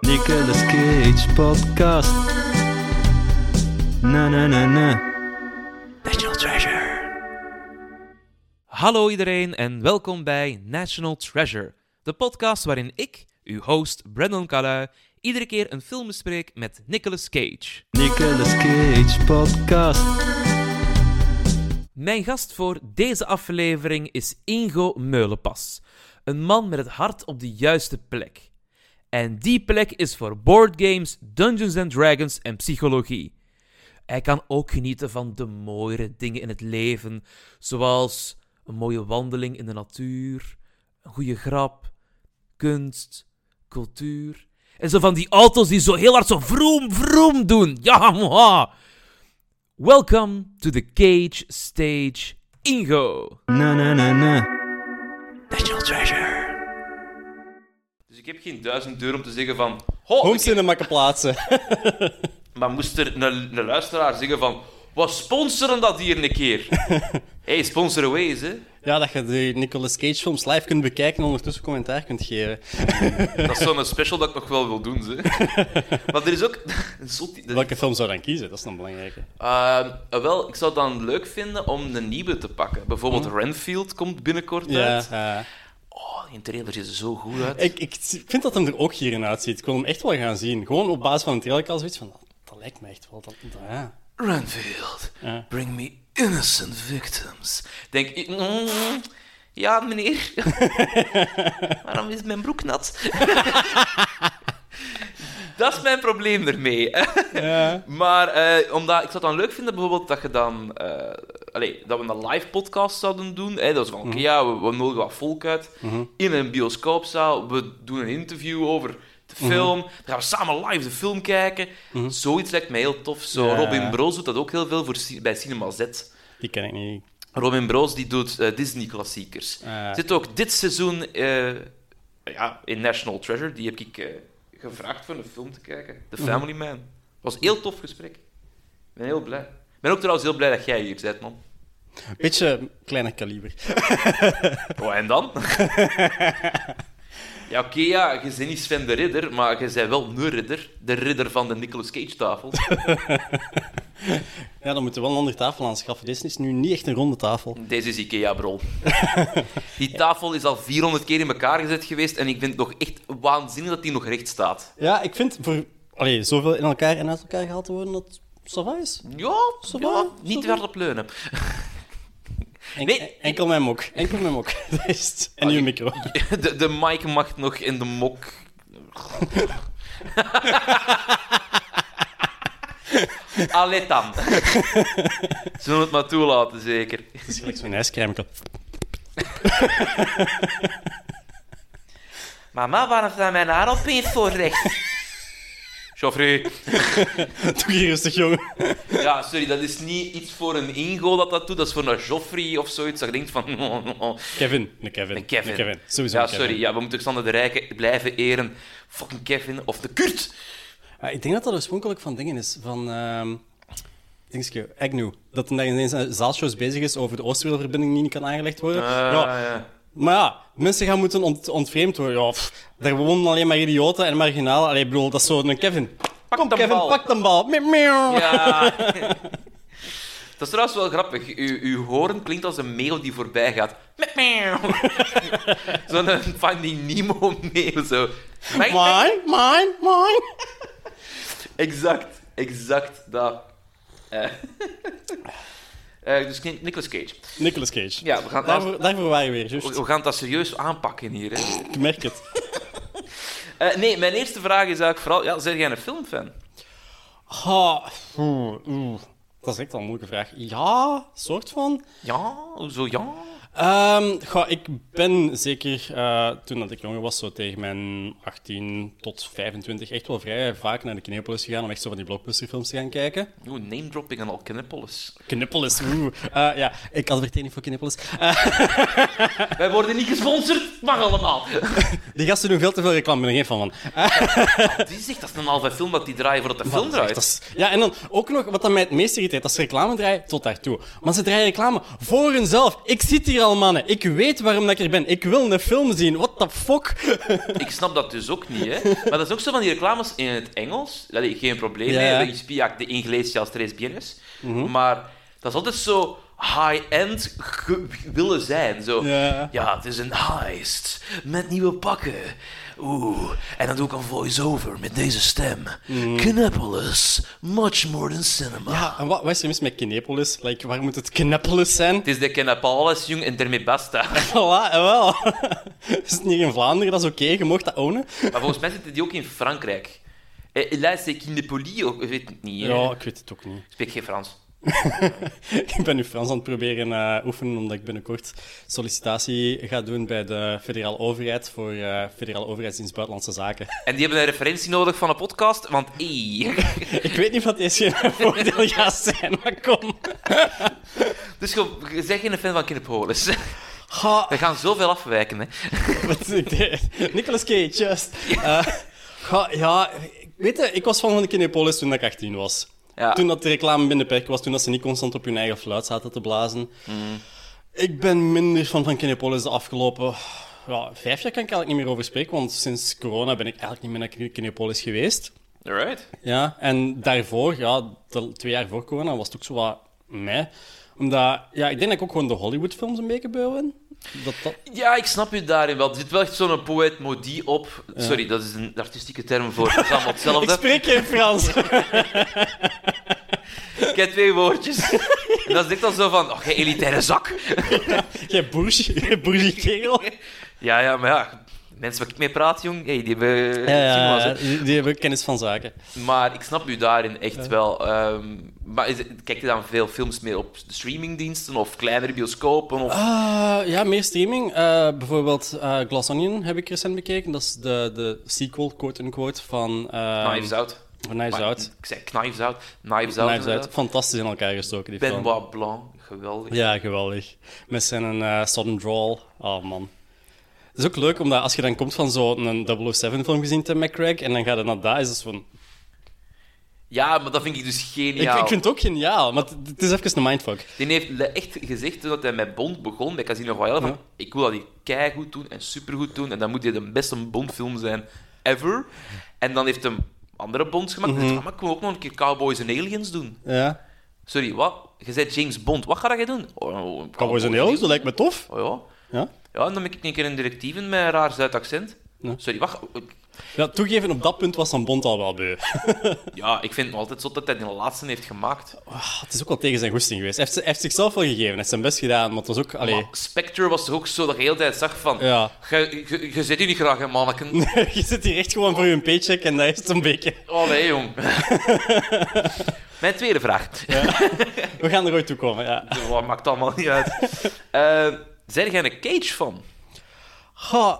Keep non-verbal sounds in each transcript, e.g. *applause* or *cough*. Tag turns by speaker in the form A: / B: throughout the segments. A: Nicolas Cage podcast. Na na na na. National Treasure.
B: Hallo iedereen en welkom bij National Treasure, de podcast waarin ik, uw host Brandon Calui, iedere keer een film bespreek met Nicolas Cage.
A: Nicolas Cage podcast.
B: Mijn gast voor deze aflevering is Ingo Meulenpas, een man met het hart op de juiste plek. En die plek is voor boardgames, Dungeons and Dragons en psychologie. Hij kan ook genieten van de mooiere dingen in het leven, zoals een mooie wandeling in de natuur, een goede grap, kunst, cultuur. En zo van die auto's die zo heel hard zo vroom, vroom doen. Ja, moha. Welcome to the Cage Stage, Ingo.
A: Na na na na.
B: National Treasure. Dus ik heb geen duizend deur om te zeggen van... Ho,
C: Home cinema kan plaatsen. *laughs*
B: Maar moest er een, een luisteraar zeggen van... We sponsoren dat hier een keer. hey, sponsor away is, hè.
C: Ja, dat je de Nicolas Cage films live kunt bekijken en ondertussen commentaar kunt geven.
B: Dat is zo'n special dat ik nog wel wil doen, hè. Maar er is ook... *laughs* een zot- de-
C: Welke film zou je dan kiezen? Dat is dan belangrijk. hè.
B: Ehm, wel, ik zou het dan leuk vinden om een nieuwe te pakken. Bijvoorbeeld
C: Oh.
B: Renfield komt binnenkort
C: Ja,
B: uit.
C: ja. eh,
B: Oh, die trailer ziet er zo goed uit.
C: ik, ik vind dat hem er ook hierin uitziet. Ik wil hem echt wel gaan zien. Gewoon op basis van een trailer kan zoiets van... Dat, dat lijkt me echt wel... Dat, dat- ja.
B: Renfield,
C: Ja.
B: bring me innocent victims. Denk ik... mm, ja,
C: *laughs*
B: meneer. Waarom is mijn broek nat? *laughs* dat is mijn probleem ermee. Maar eh, omdat, ik zou het dan leuk vinden bijvoorbeeld dat je dan... eh, allee, dat we een live podcast zouden doen. Hè, dat is van,
C: Mhm.
B: oké, ja, we, we nodigen wat volk uit. In een bioscoopzaal. We doen een interview over de
C: Mhm.
B: film. Dan gaan we samen live de film kijken. Zoiets lijkt mij heel tof. Zo,
C: Ja.
B: Robin Broos doet dat ook heel veel voor, ci- bij Cinema Z.
C: Die ken ik niet.
B: Robin Broos die doet eh, Disney-klassiekers.
C: Ah.
B: Zit ook dit seizoen eh, ja, in National Treasure. Die heb ik eh, gevraagd voor een film te kijken. The Family Man. was een heel tof gesprek. Ik ben heel blij. Ik ben ook trouwens heel blij dat jij hier bent, man.
C: Een beetje kleiner kaliber.
B: Oh, en dan? ja, oké, ja, je bent niet Sven de Ridder, maar je bent wel een ridder. De ridder van de Nicolas Cage-tafel.
C: Ja, dan moeten we wel een andere tafel aanschaffen. Dit is nu niet echt een ronde tafel.
B: Deze is IKEA-brol. Die tafel is al 400 keer in elkaar gezet geweest en ik vind het nog echt waanzinnig dat die nog recht staat.
C: Ja, ik vind voor... Allee, zoveel in elkaar en uit elkaar gehaald te worden, dat... ça va is.
B: Ja, ja,
C: Ça va,
B: niet
C: ça
B: te
C: va.
B: hard op leunen.
C: En-
B: Nee.
C: Enkel mijn mok. Enkel mijn mok. *laughs* Dat is het. En uw micro. *laughs*
B: De, de mic mag nog in de mok. Allee dan. Zullen we het maar toelaten, zeker.
C: Het is gelijk zo'n ijscrème.
B: Mama, waarom staan mijn haar opeens zo recht? Geoffrey.
C: Doe hier rustig, jongen.
B: Ja, sorry, dat is niet iets voor een Ingo dat dat doet. Dat is voor een Joffrey of zoiets. Dat je denkt van... *laughs*
C: Kevin. Een Kevin.
B: Een Kevin.
C: Een Kevin. Sowieso
B: ja,
C: een Kevin.
B: sorry. Ja, we moeten Xander de Rijke blijven eren. Fucking Kevin. Of de Kurt.
C: Ah, ik denk dat dat oorspronkelijk van dingen is. Van... ehm Dingetje, Agnew. Dat hij ineens aan zaalshows bezig is over de Oosterweelverbinding die niet kan aangelegd worden.
B: Ah,
C: ja.
B: ja.
C: Maar ja, mensen gaan moeten ont- ontvreemd worden. Ja, pff, daar wonen alleen maar idioten en marginalen. Allee, ik bedoel, dat is zo'n Kevin. Kom,
B: de
C: Kevin,
B: bal.
C: pak de bal. Meow, meow.
B: Ja. *laughs* Dat is trouwens wel grappig. U, uw hoorn klinkt als een meeuw die voorbij gaat. Met meeuw. *laughs* Zo'n eh, Finding Nemo meeuw. Zo. Mijn-
C: Mine, mine, mine.
B: Exact. Exact dat. Eh. *laughs* Eh, dus Nic- Nicolas Cage.
C: Nicolas Cage.
B: Ja, we gaan,
C: Daarvoor, daarvoor waren we weer, juist.
B: we gaan dat serieus aanpakken hier. Hè.
C: Ik merk het.
B: Eh, nee, mijn eerste vraag is eigenlijk vooral... Ja, zijn jij een filmfan?
C: Ha, oeh, oeh. Dat is echt wel een moeilijke vraag. Ja, soort van.
B: Ja, hoezo ja?
C: Ehm, goh, ik ben zeker eh, toen dat ik jonger was, zo tegen mijn 18 tot 25, echt wel vrij vaak naar de Kinepolis gegaan om echt zo van die blockbusterfilms te gaan kijken.
D: Oeh, name dropping en al Knippels.
C: Kinepolis, oeh. Eh, ja, ik adverteer niet voor Kinepolis. Eh,
D: Wij worden niet gesponsord, mag allemaal.
C: die gasten doen veel te veel reclame, ik ben er geen fan van.
D: Die zegt dat is een halve film dat die draaien voordat de film
C: Dat is echt-
D: draait.
C: dat is- ja, en dan ook nog wat dat mij het meest irriteert, dat ze reclame draaien tot daartoe. Maar ze draaien reclame voor hunzelf. Ik zit hier al, mannen. Ik weet waarom dat ik er ben. Ik wil een film zien. What the fuck?
D: Ik snap dat dus ook niet, hè. Maar dat is ook zo van die reclames in het Engels. Dat is geen probleem,
C: Ja, Mhm.
D: hè.
C: ja.
D: Ik spie de Inglesias tres bienes. Maar dat is altijd zo high-end ge- willen zijn. Zo.
C: Ja.
D: het is een heist met nieuwe pakken. Oeh, en dan doe ik een voice-over met deze stem. Knepolis, much more than cinema.
C: Mhm. Ja, *laughs* en wat, wat is er mis met Kinepolis? Like, waar moet het Kinepolis zijn?
D: Het is de Knepolis, jong, en daarmee basta.
C: *laughs* Voilà, eh, wel. *laughs* is het niet in Vlaanderen? Dat is oké, je mocht dat ownen.
D: Maar volgens mij zitten die ook in Frankrijk. Eh, Là, c'est Knepolis, ook- ik oh, weet het niet. hè.
C: Ja, ik weet het ook niet. *laughs*
D: Ik spreek geen Frans.
C: Ik ben nu Frans aan het proberen eh, oefenen, omdat ik binnenkort sollicitatie ga doen bij de federale overheid voor eh, federale overheidsdienst Buitenlandse Zaken.
D: En die hebben een referentie nodig van een podcast, want ey.
C: *laughs* Ik weet niet wat deze *laughs* geen voordeel gaat zijn, maar kom.
D: *laughs* Dus je je bent geen fan van Kinderpolis.
C: Ha,
D: *laughs* We gaan zoveel afwijken, hè.
C: wat *laughs* ik deed. Nicolas Cage, just. Eh, ga, ja, ik- weet je, ik was fan van de Kinepolis toen ik 18 was.
D: Ja.
C: Toen dat de reclame binnen perk was, toen dat ze niet constant op hun eigen fluit zaten te blazen. Ik ben minder fan van Kinepolis de afgelopen... Ja, vijf jaar kan ik eigenlijk niet meer over spreken, want sinds corona ben ik eigenlijk niet meer naar Kine- Kinepolis geweest.
D: Alright.
C: Ja, en daarvoor, ja, de- twee jaar voor corona, was het ook zo wat meh. Omdat, ja, ik denk dat ik ook gewoon de Hollywoodfilms een beetje beu ben. Dat, dat...
D: Ja, ik snap je daarin wel. Er zit wel echt zo'n poëet modi op. Sorry, dat is een artistieke term voor het is
C: *laughs*
D: allemaal
C: Ik
D: hetzelfde.
C: spreek geen Frans. *laughs*
D: Ik heb twee woordjes. *laughs* En dat is echt dan zo van, oh, jij elitaire zak. *laughs*
C: Jij boertje, jij boertje kerel.
D: Ja, ja, maar ja. Mensen waar ik mee praat, jong, hey, die hebben... cinema's, hè.
C: die, die hebben kennis van zaken.
D: Maar ik snap u daarin echt wel. Ehm, maar is, het- kijk je dan veel films meer op streamingdiensten of kleinere bioscopen?
C: Ah,
D: Of...
C: ja, meer streaming. Eh, bijvoorbeeld eh Glass Onion heb ik recent bekeken. Dat is de, de sequel, quote-unquote, van eh,
D: Knives Out.
C: van Knives
D: Maar
C: Out.
D: Ik zei Knives Out. Knives Out.
C: Knives Out.
D: inderdaad.
C: Fantastisch in elkaar gestoken, die film.
D: Benoit Blanc. Geweldig.
C: Ja, geweldig. Met zijn eh, sudden drawl. Oh man. Het is ook leuk, omdat als je dan komt van zo'n 007-film gezien te McCrack, en dan gaat het naar daar, is het van...
D: Ja, maar dat vind ik dus
C: Ik,
D: geniaal.
C: ik vind het ook geniaal, maar het, het is even een mindfuck.
D: Die heeft le- echt gezegd, toen hij met Bond begon, bij Casino Royale, van,
C: Ja.
D: ik wil dat hier keigoed doen en supergoed doen, en dan moet dit de beste Bondfilm zijn ever. En dan heeft hij andere Bonds gemaakt.
C: Mhm.
D: en dacht, "Ah, maar ik wil ook nog een keer Cowboys en Aliens doen.
C: Ja.
D: Sorry, wat? Je zei James Bond, wat ga je doen? Oh, Cowboys,
C: Cowboys and Aliens, dat lijkt me tof.
D: Oh ja.
C: Ja?
D: Ja, en dan ben ik een keer een directieven met een raar Zuid-accent.
C: Ja.
D: Sorry, wacht.
C: Ja, toegeven, op dat punt was Van Bond al wel *laughs* beu. Ah,
D: Ja, ik vind het altijd zo dat hij de laatste heeft gemaakt.
C: Het is ook wel tegen zijn goesting geweest. Hij heeft, hij heeft zichzelf wel gegeven, hij heeft zijn best gedaan, maar het was ook... Allee, *laughs*
D: Maar Ah, Spectre was toch ook zo dat je de hele tijd zag van...
C: Ja.
D: Je je- je zit hier niet graag, hè, manneken.
C: je zit hier echt gewoon voor je paycheck en dat is het een beetje... *laughs*
D: Allee, jong. Mijn tweede vraag.
C: We gaan er ooit toe komen, ja.
D: *laughs* Wat maakt allemaal niet uit. Eh zijn jij een cage van?
C: Goh,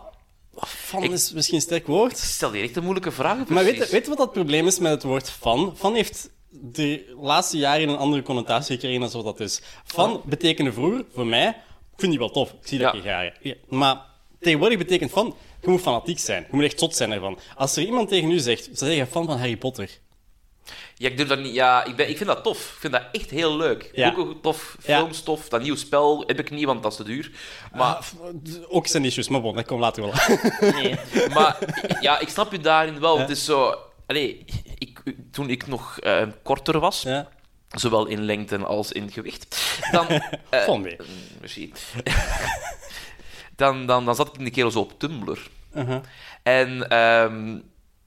C: fan is misschien een sterk woord.
D: Stel die echt een moeilijke vraag. Precies.
C: Maar weet, je- weet je wat dat probleem is met het woord fan? Fan heeft de laatste jaren een andere connotatie gekregen dan zo dat is. Fan betekende vroeger, voor mij, ik vind die wel tof, ik zie dat
D: Ja.
C: je graag. Ja. Maar tegenwoordig betekent fan, je moet fanatiek zijn. Je moet echt zot zijn ervan. Als er iemand tegen u zegt, ze zeggen fan van Harry Potter.
D: Ja, ik, durf dat niet, ja ik, ben, ik vind dat tof. Ik vind dat echt heel leuk.
C: Ja.
D: Boeken tof,
C: Ja.
D: films tof. Dat nieuwe spel heb ik niet, want dat is te duur. Maar,
C: Ah, f- ook zijn issues, maar bon, dat komt later
D: *laughs*
C: wel. aan. Ah.
D: maar ja, ik snap je daarin wel. Het is zo... Allee, ik, toen ik nog eh, korter was...
C: Ja.
D: zowel in lengte als in gewicht,
C: *laughs*
D: dan... eh,
C: Van weer.
D: eh, misschien. *laughs* dan, dan, dan zat ik in de kerel zo op Tumblr.
C: Uh-huh.
D: En ehm,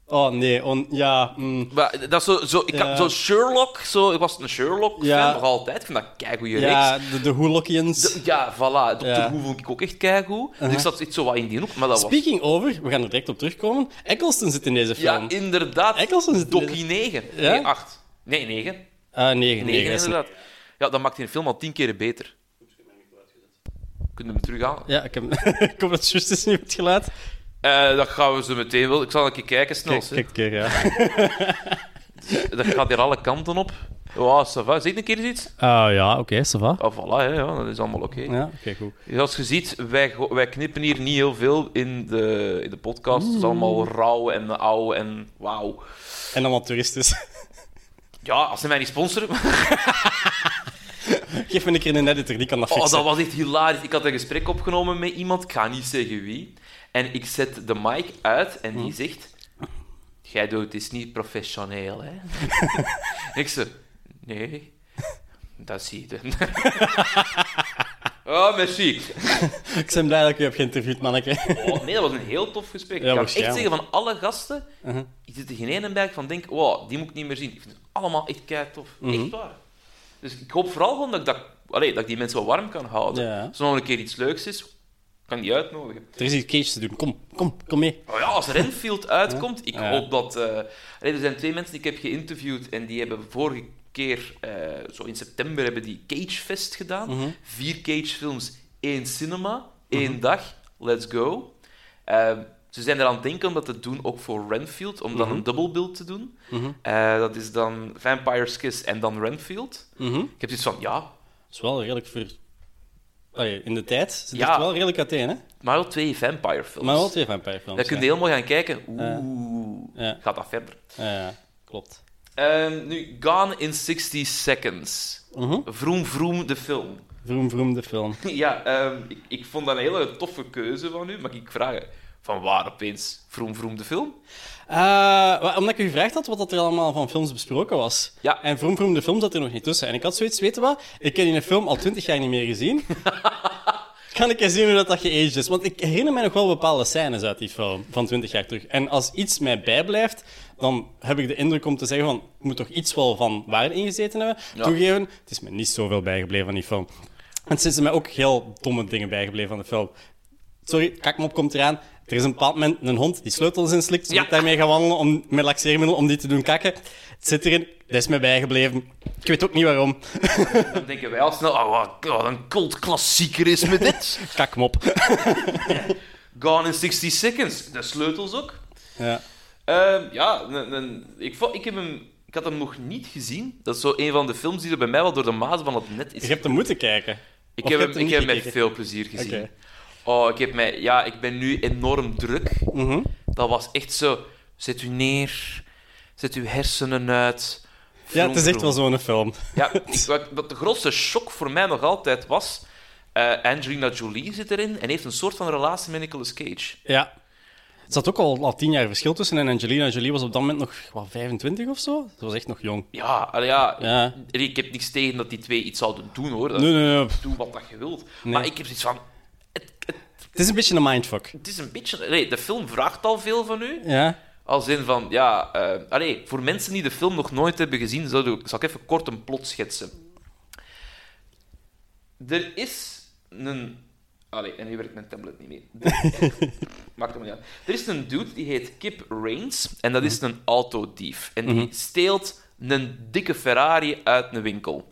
C: Oh nee, on, ja. mm.
D: maar dat is zo, zo, ik
C: Ja.
D: had zo Sherlock, zo, ik was een Sherlock fan,
C: Ja.
D: nog altijd. Ik vind dat keigoeie
C: ja,
D: reeks.
C: de, de Hoelockians.
D: De- ja, voilà. Doctor
C: Ja. Uh-huh.
D: Who vond ik ook echt keigoed. Dus ik zat iets zo wat in die hoek, maar dat was...
C: Speaking over, we gaan er direct op terugkomen. Eccleston zit in deze film.
D: Ja, inderdaad.
C: Eccleston zit in
D: Dokkie 9.
C: Ja?
D: Nee, 8. Nee, 9.
C: Ah, nee, nee,
D: 9
C: dat is-
D: inderdaad. Ja, dat maakt die film al tien keer beter. Kunnen we hem terughalen?
C: Ja, ik, heb... *laughs* ik hoop dat het juist is nu het geluid.
D: Eh, dat gaan we zo meteen wel. Ik zal een keer kijken snel.
C: Kijk,
D: hè.
C: kijk, kijk, ja.
D: *laughs* Dat gaat hier alle kanten op. Ja, ça va. Zeg een keer eens iets.
C: Ah ja, oké, ça va.
D: Ah, voilà, hè, ja, dat is allemaal oké.
C: Ja, oké, goed.
D: Zoals je ziet, wij, go- wij knippen hier niet heel veel in de, in de podcast. Het is
C: Mm.
D: allemaal rauw en oud en wauw.
C: En allemaal toeristisch.
D: Ja, als ze mij niet sponsoren.
C: *laughs* Geef me een keer een editor, die kan dat
D: Oh,
C: fixen.
D: dat was echt hilarisch. Ik had een gesprek opgenomen met iemand, ik ga niet zeggen wie. En ik zet de mic uit en die zegt... Jij doet het niet professioneel, hè? *laughs* ik zeg... Nee, dat zie je. *laughs* oh, merci.
C: Ik ben blij dat ik u heb geïnterviewd, manneke. *laughs*
D: Oh, nee, dat was een heel tof gesprek.
C: Ja,
D: ik kan echt
C: waarschijnlijk.
D: zeggen, van alle gasten,
C: Uh-huh.
D: ik zit er geen ene bij van denk, wow, die moet ik niet meer zien. Ik vind het allemaal echt kei tof.
C: Uh-huh.
D: Echt waar. Dus ik hoop vooral gewoon dat ik, dat, allee, dat ik die mensen wel warm kan houden.
C: Ja.
D: Als er nog een keer iets leuks is, kan ik die uitnodigen.
C: Er is iets cages te doen. Kom, kom, kom mee.
D: Oh ja, als Renfield uitkomt, ik
C: Ja.
D: hoop dat... eh, allee, er zijn twee mensen die ik heb geïnterviewd en die hebben vorige keer, eh, zo in september, hebben die Cagefest gedaan.
C: Mhm.
D: Vier Cagefilms, één cinema, één dag, let's go. Ehm, ze zijn er aan het denken om dat te doen ook voor Renfield, om
C: Mhm.
D: dan een double build te doen. Eh, dat is dan Vampire's Kiss en dan Renfield.
C: Mhm.
D: Ik heb zoiets van, ja,
C: Dat is wel redelijk voor... Allee, in de tijd zit
D: Ja.
C: het wel redelijk uiteen, hè?
D: maar wel twee Vampire films.
C: Maar wel twee vampirefilms.
D: Daar kun je
C: ja.
D: heel mooi gaan kijken. Oeh,
C: Ja.
D: gaat dat verder.
C: Ja, ja, klopt.
D: Ehm, nu, Gone in 60 Seconds.
C: Mhm.
D: Vroom vroom de film. *laughs*
C: Vroom, vroom, de film.
D: ja, ehm, ik, ik vond dat een hele toffe keuze van u. Mag ik vragen, van waar opeens vroom vroom de film?
C: Eh, wa- omdat ik u gevraagd had wat dat er allemaal van films besproken was.
D: Ja.
C: En Vroom Vroom, de film zat er nog niet tussen. En ik had zoiets, weten wat? Ik heb die film al twintig jaar niet meer gezien. Kan ik eens zien hoe dat, dat geaged is? Want ik herinner mij nog wel bepaalde scènes uit die film van twintig jaar terug. En als iets mij bijblijft, dan heb ik de indruk om te zeggen van... Er moet toch iets wel van waarde ingezeten hebben? Toegeven, het is me niet zoveel bijgebleven van die film. En sinds mij ook heel domme dingen bijgebleven van de film. Sorry, kakmop komt eraan. Er is een bepaald moment een hond die sleutels inslikt. Ze
D: Ja.
C: moet daarmee gaan wandelen om, met laxeermiddel om die te doen kakken. Het zit erin. Dat is mij bijgebleven. Ik weet ook niet waarom.
D: Dan denken wij al snel, oh, wat, wat een cult klassieker is met
C: *laughs*
D: dit.
C: Kakmop.
D: Gone in 60 Seconds, de sleutels ook.
C: Ja.
D: Ehm, ja, een- een- ik, vo- ik, heb hem, ik had hem nog niet gezien. Dat is zo een van de films die er bij mij wel door de maat van het net is
C: Je hebt hem moeten kijken.
D: Ik
C: Of
D: heb
C: je
D: hem,
C: hebt hem
D: ik heb
C: niet
D: hem met
C: gekeken?
D: veel plezier gezien.
C: Oké.
D: Oh, ik, heb mij, ja, ik ben nu enorm druk.
C: Mhm.
D: Dat was echt zo... Zet u neer. Zet uw hersenen uit.
C: Ja, het is echt
D: Vroom,
C: wel zo'n film.
D: vroom. Ja, ik- wat, wat de grootste shock voor mij nog altijd was... eh, Angelina Jolie zit erin en heeft een soort van relatie met Nicolas Cage.
C: Ja. Er zat ook al, al tien jaar verschil tussen. En Angelina Jolie was op dat moment nog wat, 25 of zo. Ze was echt nog jong.
D: Ja, allee, ja,
C: Ja.
D: en ik heb niks tegen dat die twee iets zouden doen, hoor. Dat-
C: Nee, nee, nee.
D: Doe wat dat je wilt. Maar ik heb zoiets van... Het, het,
C: Het is een beetje een mindfuck.
D: het is een beetje... allee, de film vraagt al veel van u.
C: Ja.
D: Als in van, ja, eh, allee, voor mensen die de film nog nooit hebben gezien, zal ik, zal ik even kort een plot schetsen. Er is een. Allee, en nu werkt mijn tablet niet meer. Er- Maakt hem niet uit. Er is een dude die heet Kip Rains en dat is een autodief. En die steelt een dikke Ferrari uit een winkel.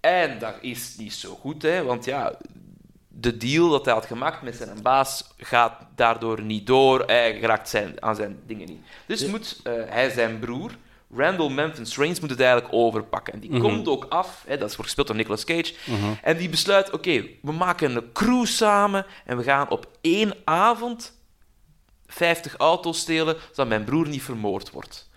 D: En dat is niet zo goed, hè, want ja, de deal dat hij had gemaakt met zijn baas gaat daardoor niet door. Hij raakt zijn, aan zijn dingen niet. Dus moet eh, hij zijn broer, Randall Memphis Reigns, moet het eigenlijk overpakken. En die komt ook af, hè, dat is gespeeld door Nicolas Cage. En die besluit, oké, we maken een crew samen en we gaan op één avond 50 auto's stelen, zodat mijn broer niet vermoord wordt.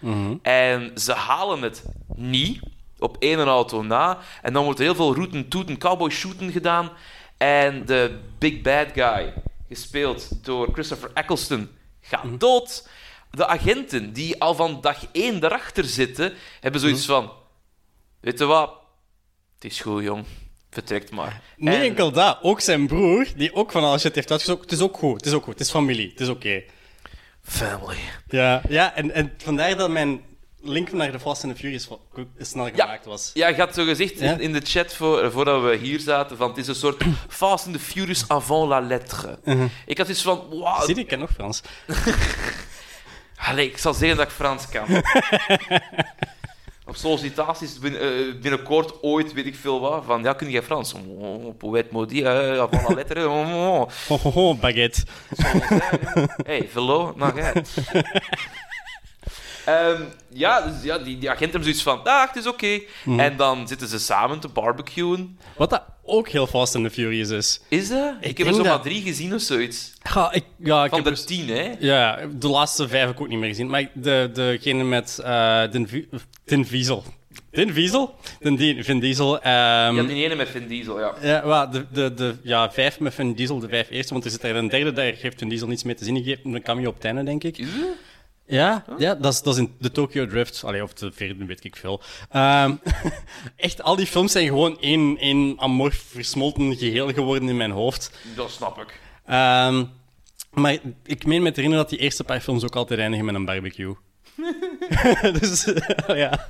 D: En ze halen het niet, op één auto na. En dan wordt er heel veel roeten, toeten, cowboy shooten gedaan. En de big bad guy, gespeeld door Christopher Eccleston, gaat dood. De agenten, die al van dag één erachter zitten, hebben zoiets van... Weet je wat? Het is goed, jong. Vertrekt maar.
C: Niet
D: En-
C: enkel dat. Ook zijn broer, die ook van alles shit heeft uitgezocht. Het is ook goed. Het is ook goed. Het is familie. Het is oké.
D: Family.
C: Ja, ja en, en vandaar dat mijn link naar de Fast and the Furious vo- ook snel gemaakt was.
D: Ja, je had zo gezegd
C: Ja.
D: in, in de chat voor, voordat we hier zaten: van het is een soort Fast and the Furious avant la lettre. Ik had iets van: wow,
C: Uh-huh. Zie je, ik ken nog Frans. *laughs*
D: Allee, ik zal zeggen dat ik Frans kan. Op sollicitaties bin- eh, binnenkort ooit, weet ik veel wat, van ja, kun jij Frans? Oh, poëet maudit, eh, avant la lettre. oh, oh, oh.
C: Ho, ho, ho, baguette.
D: hey, velo, nou jij.
C: *laughs*
D: Ehm, ja, dus ja, die, die agent hebben zoiets van, ah, het is oké.
C: Mhm.
D: En dan zitten ze samen te barbecuen.
C: Wat dat ook heel Fast and the Furious is.
D: Is dat? Ik, heb er
C: denk
D: zo
C: dat-
D: maar drie gezien of zoiets.
C: Ja, ik, ja, ik
D: Van
C: heb
D: de
C: dus-
D: tien, hè?
C: ja, de laatste vijf heb ik ook niet meer gezien. Maar ik- de, degene met eh Din, Vi- Din Diesel. Din Diesel? Din, Di- Vin Diesel. ehm,
D: Ja, die ene met Vin Diesel, ja.
C: Ja, wel, de, de, de ja, vijf met Vin Diesel, de vijf eerste, want er zit er een derde, daar heeft Vin Diesel niets mee te zien. Die een cameo op het einde, denk ik.
D: Is het?
C: Ja, ja dat, is, dat is in de Tokyo Drift, Allee, of de vierde, weet ik veel. Ehm, *laughs* echt, al die films zijn gewoon één, één amorf versmolten geheel geworden in mijn hoofd.
D: Dat snap ik.
C: Ehm, maar ik meen me te herinneren dat die eerste paar films ook altijd eindigen met een barbecue. *laughs* dus, *laughs* ja.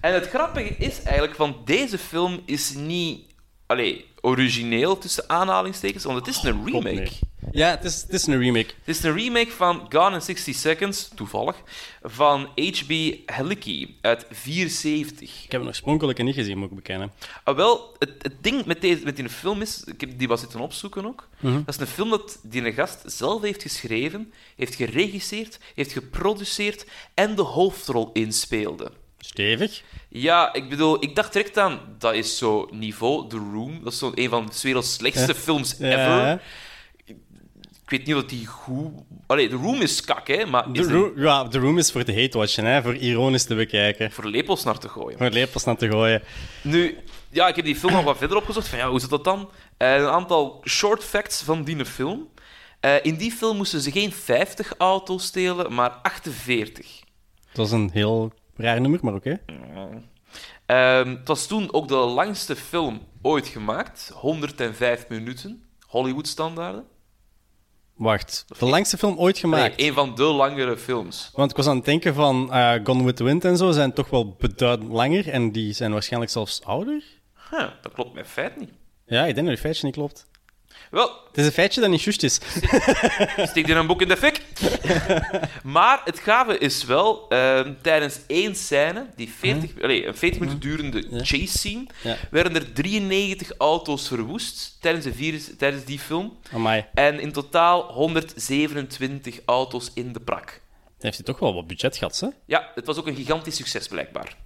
D: En het grappige is eigenlijk, van deze film is niet... Allee, origineel, tussen aanhalingstekens, want het is een
C: God,
D: remake.
C: nee. Ja, het is, het is een remake.
D: Het is een remake van Gone in 60 Seconds, toevallig, van H.B. Heliki uit 74.
C: Ik heb het oorspronkelijk niet gezien, moet ik bekennen.
D: Ah, wel, het, het ding met, deze, met die film is, ik heb die was zitten opzoeken ook, dat is een film dat die een gast zelf heeft geschreven, heeft geregisseerd, heeft geproduceerd en de hoofdrol inspeelde.
C: Stevig.
D: Ja, ik bedoel, ik dacht direct aan, dat is zo niveau, The Room, dat is zo een van de werelds slechtste films
C: Ja.
D: ever. Ik weet niet wat die goed... Allee, The Room is kak, hè, maar
C: De
D: is die-
C: room, ja, de room is voor de hatewatchen, hè, voor ironisch te bekijken.
D: voor lepels naar te gooien.
C: Voor lepels naar te gooien.
D: Nu, ja, ik heb die film nog wat verder opgezocht. Van, ja, hoe zit dat dan? Eh, een aantal short facts van die film. Eh, in die film moesten ze geen 50 auto's stelen, maar 48.
C: Dat is een heel raar nummer, maar oké.
D: Ehm, het was toen ook de langste film ooit gemaakt. 105 minuten. Hollywood-standaarden.
C: Wacht, de langste film ooit gemaakt.
D: Nee, een van de langere films.
C: Want ik was aan het denken van eh, Gone with the Wind en zo zijn toch wel beduidend langer en die zijn waarschijnlijk zelfs ouder.
D: Huh, Ah, dat klopt mijn feit niet.
C: Ja, ik denk dat het feitje niet klopt.
D: Wel,
C: Het is een feitje dat niet juist is.
D: Steek er een boek in de fik. *laughs* maar het gave is wel, ehm, tijdens één scène, die 40, allee, een 40 minuten durende chase scene,
C: Mhm. Ja.
D: werden er 93 auto's verwoest tijdens, de virus, tijdens die film.
C: Amai, dan
D: En in totaal 127 auto's in de prak.
C: heeft hij toch wel wat budget gehad, hè?
D: Ja, het was ook een gigantisch succes blijkbaar.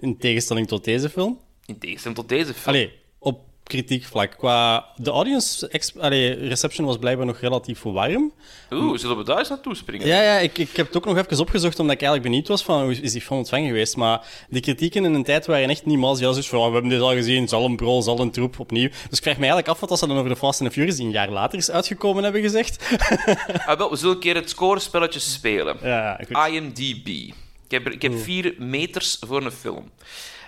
C: In tegenstelling tot deze film.
D: In tegenstelling tot deze film.
C: Allee, op kritiekvlak. Qua de audience ex- allee, reception was blijkbaar nog relatief warm.
D: Oeh, zullen we daar eens naartoe springen?
C: Ja, ja ik, ik heb het ook nog even opgezocht, omdat ik eigenlijk benieuwd was van hoe is die film ontvangen geweest. Maar de kritieken in een tijd waren echt niet mals. Ja, dus van, oh, we hebben dit al gezien, zal een brol, zal een troep, opnieuw. Dus ik vraag me eigenlijk af wat als ze dan over de Fast and the Furious die een jaar later is uitgekomen hebben gezegd.
D: Ah, wel, we zullen een keer het scorespelletje spelen.
C: Ja, goed.
D: Ah, IMDb. Ik heb, er- ik heb vier meters voor een film.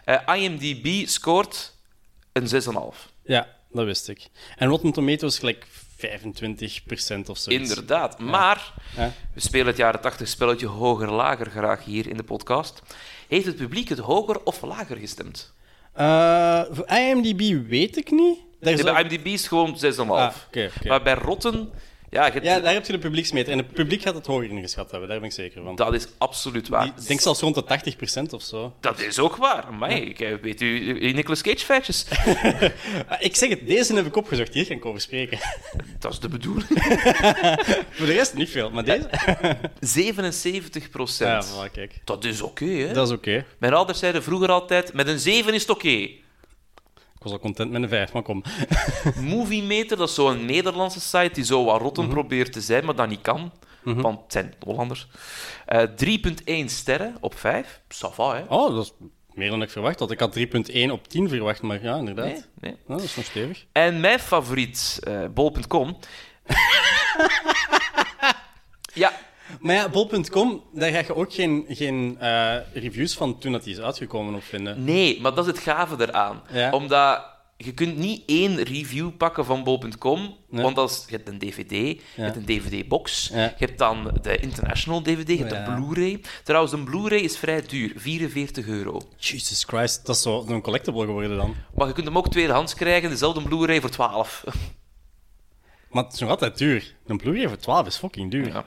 D: Eh, IMDb scoort een 6,5.
C: Ja, dat wist ik. En Rotten Tomatoes gelijk 25% of zoiets.
D: Inderdaad. Maar,
C: Ja.
D: we spelen het jaren 80 spelletje hoger-lager graag hier in de podcast. Heeft het publiek het hoger of lager gestemd?
C: Eh, voor IMDb weet ik niet. Daar
D: Nee,
C: zou-
D: bij IMDb is gewoon 6,5.
C: Ah, oké, oké.
D: Maar bij Rotten, ja, je-
C: Ja, daar heb je de publieksmeter. En het publiek gaat het hoger ingeschat hebben, daar ben ik zeker van.
D: dat is absoluut waar.
C: Ik denk zelfs rond de 80% of zo.
D: Dat is ook waar. Maar ik eh, weet u, u- Nicolas Cage feitjes.
C: Ah, Ik zeg het, deze heb ik opgezocht, hier kan ik over spreken. *laughs*
D: dat is de bedoeling.
C: Voor de rest niet veel, maar deze...
D: 77
C: Ja,
D: procent.
C: voilà, kijk.
D: dat is oké, hè?
C: Dat is oké.
D: Mijn ouders zeiden vroeger altijd: met een 7 is het oké.
C: Ik was al content met een 5, maar kom. *laughs*
D: Movie Meter, dat is zo'n Nederlandse site die zo wat rotten probeert te zijn, maar dat niet kan. Want het zijn Hollanders. Eh, 3,1 sterren op 5. Sava, hè?
C: Oh, dat is meer dan ik verwacht had. Ik had 3.1 op 10 verwacht, maar ja, inderdaad.
D: Nee, nee.
C: Ja, dat is nog stevig.
D: En mijn favoriet, eh, bol.com. ja,
C: Maar ja, bol.com, daar ga je ook geen, geen eh, reviews van toen dat die is uitgekomen op vinden.
D: Nee, maar dat is het gave eraan.
C: Ja.
D: Omdat je kunt niet één review pakken van bol.com,
C: Nee.
D: want als, je hebt een DVD, je
C: Ja.
D: hebt een DVD-box,
C: Ja. Oh,
D: je hebt dan de international DVD, je hebt
C: Ja.
D: een Blu-ray. Trouwens, een Blu-ray is vrij duur, 44 euro.
C: Jesus Christ, dat is zo een collectible geworden dan.
D: Maar je kunt hem ook tweedehands krijgen, dezelfde Blu-ray voor 12.
C: Maar het is nog altijd duur. Een Blu-ray voor 12 is fucking duur.
D: Ja.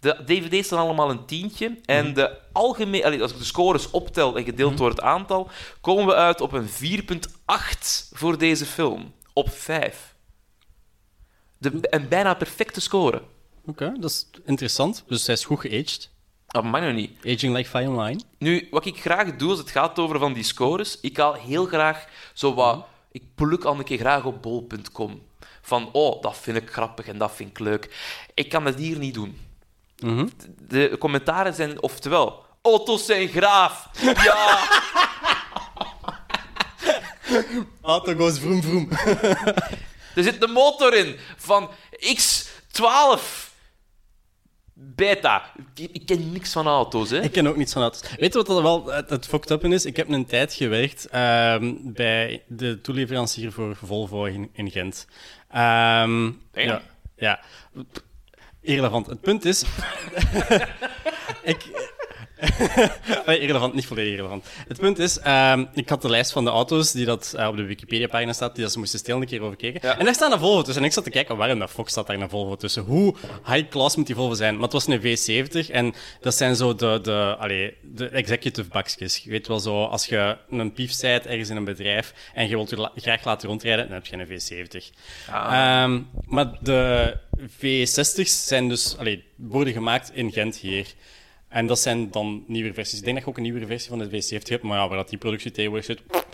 D: De DVD's staan allemaal een tientje. En de algemeen, allee, als ik de scores optel en gedeeld door het aantal, komen we uit op een 4,8 voor deze film. Op 5. De, een bijna perfecte score.
C: Oké, dat is interessant. Dus hij is goed geaged.
D: Ah, mij nog niet.
C: Aging like fine wine.
D: Nu, wat ik graag doe als het gaat over van die scores, ik haal heel graag zo wat... Ik pluk al een keer graag op bol.com. Van, oh, dat vind ik grappig en dat vind ik leuk. Ik kan dat hier niet doen.
C: Mhm.
D: De, de commentaren zijn, oftewel, auto's zijn graaf. Ja,
C: Auto goes vroom vroom.
D: er zit een motor in van X12 beta. Ik, ik ken niks van auto's, hè.
C: Ik ken ook niets van auto's. Weet je wat er wel het, het fucked up in is? Ik heb een tijd gewerkt ehm, bij de toeleverancier voor Volvo in, in Gent. Ehm, ja. ja. Irrelevant. Het punt is... *laughs* ik... *laughs* Nee, irrelevant, niet volledig irrelevant. Het punt is, ehm, ik had de lijst van de auto's die dat eh, op de Wikipedia-pagina staat, die dat ze moesten stelen, een keer overkeken. En daar staan een Volvo tussen. En ik zat te kijken, waarom dat Fox staat daar een Volvo tussen? Hoe high-class moet die Volvo zijn? Maar het was een V70 en dat zijn zo de, de, allee, de executive bakjes. Je weet wel zo, als je een pief bent ergens in een bedrijf en je wilt je la- graag laten rondrijden, dan heb je een V70. Ehm, maar de V60's zijn dus, allee, worden gemaakt in Gent hier. En dat zijn dan nieuwe versies. Ik denk dat je ook een nieuwe versie van de V70 hebt, maar ja, waar dat die productie tegenwoordig zit,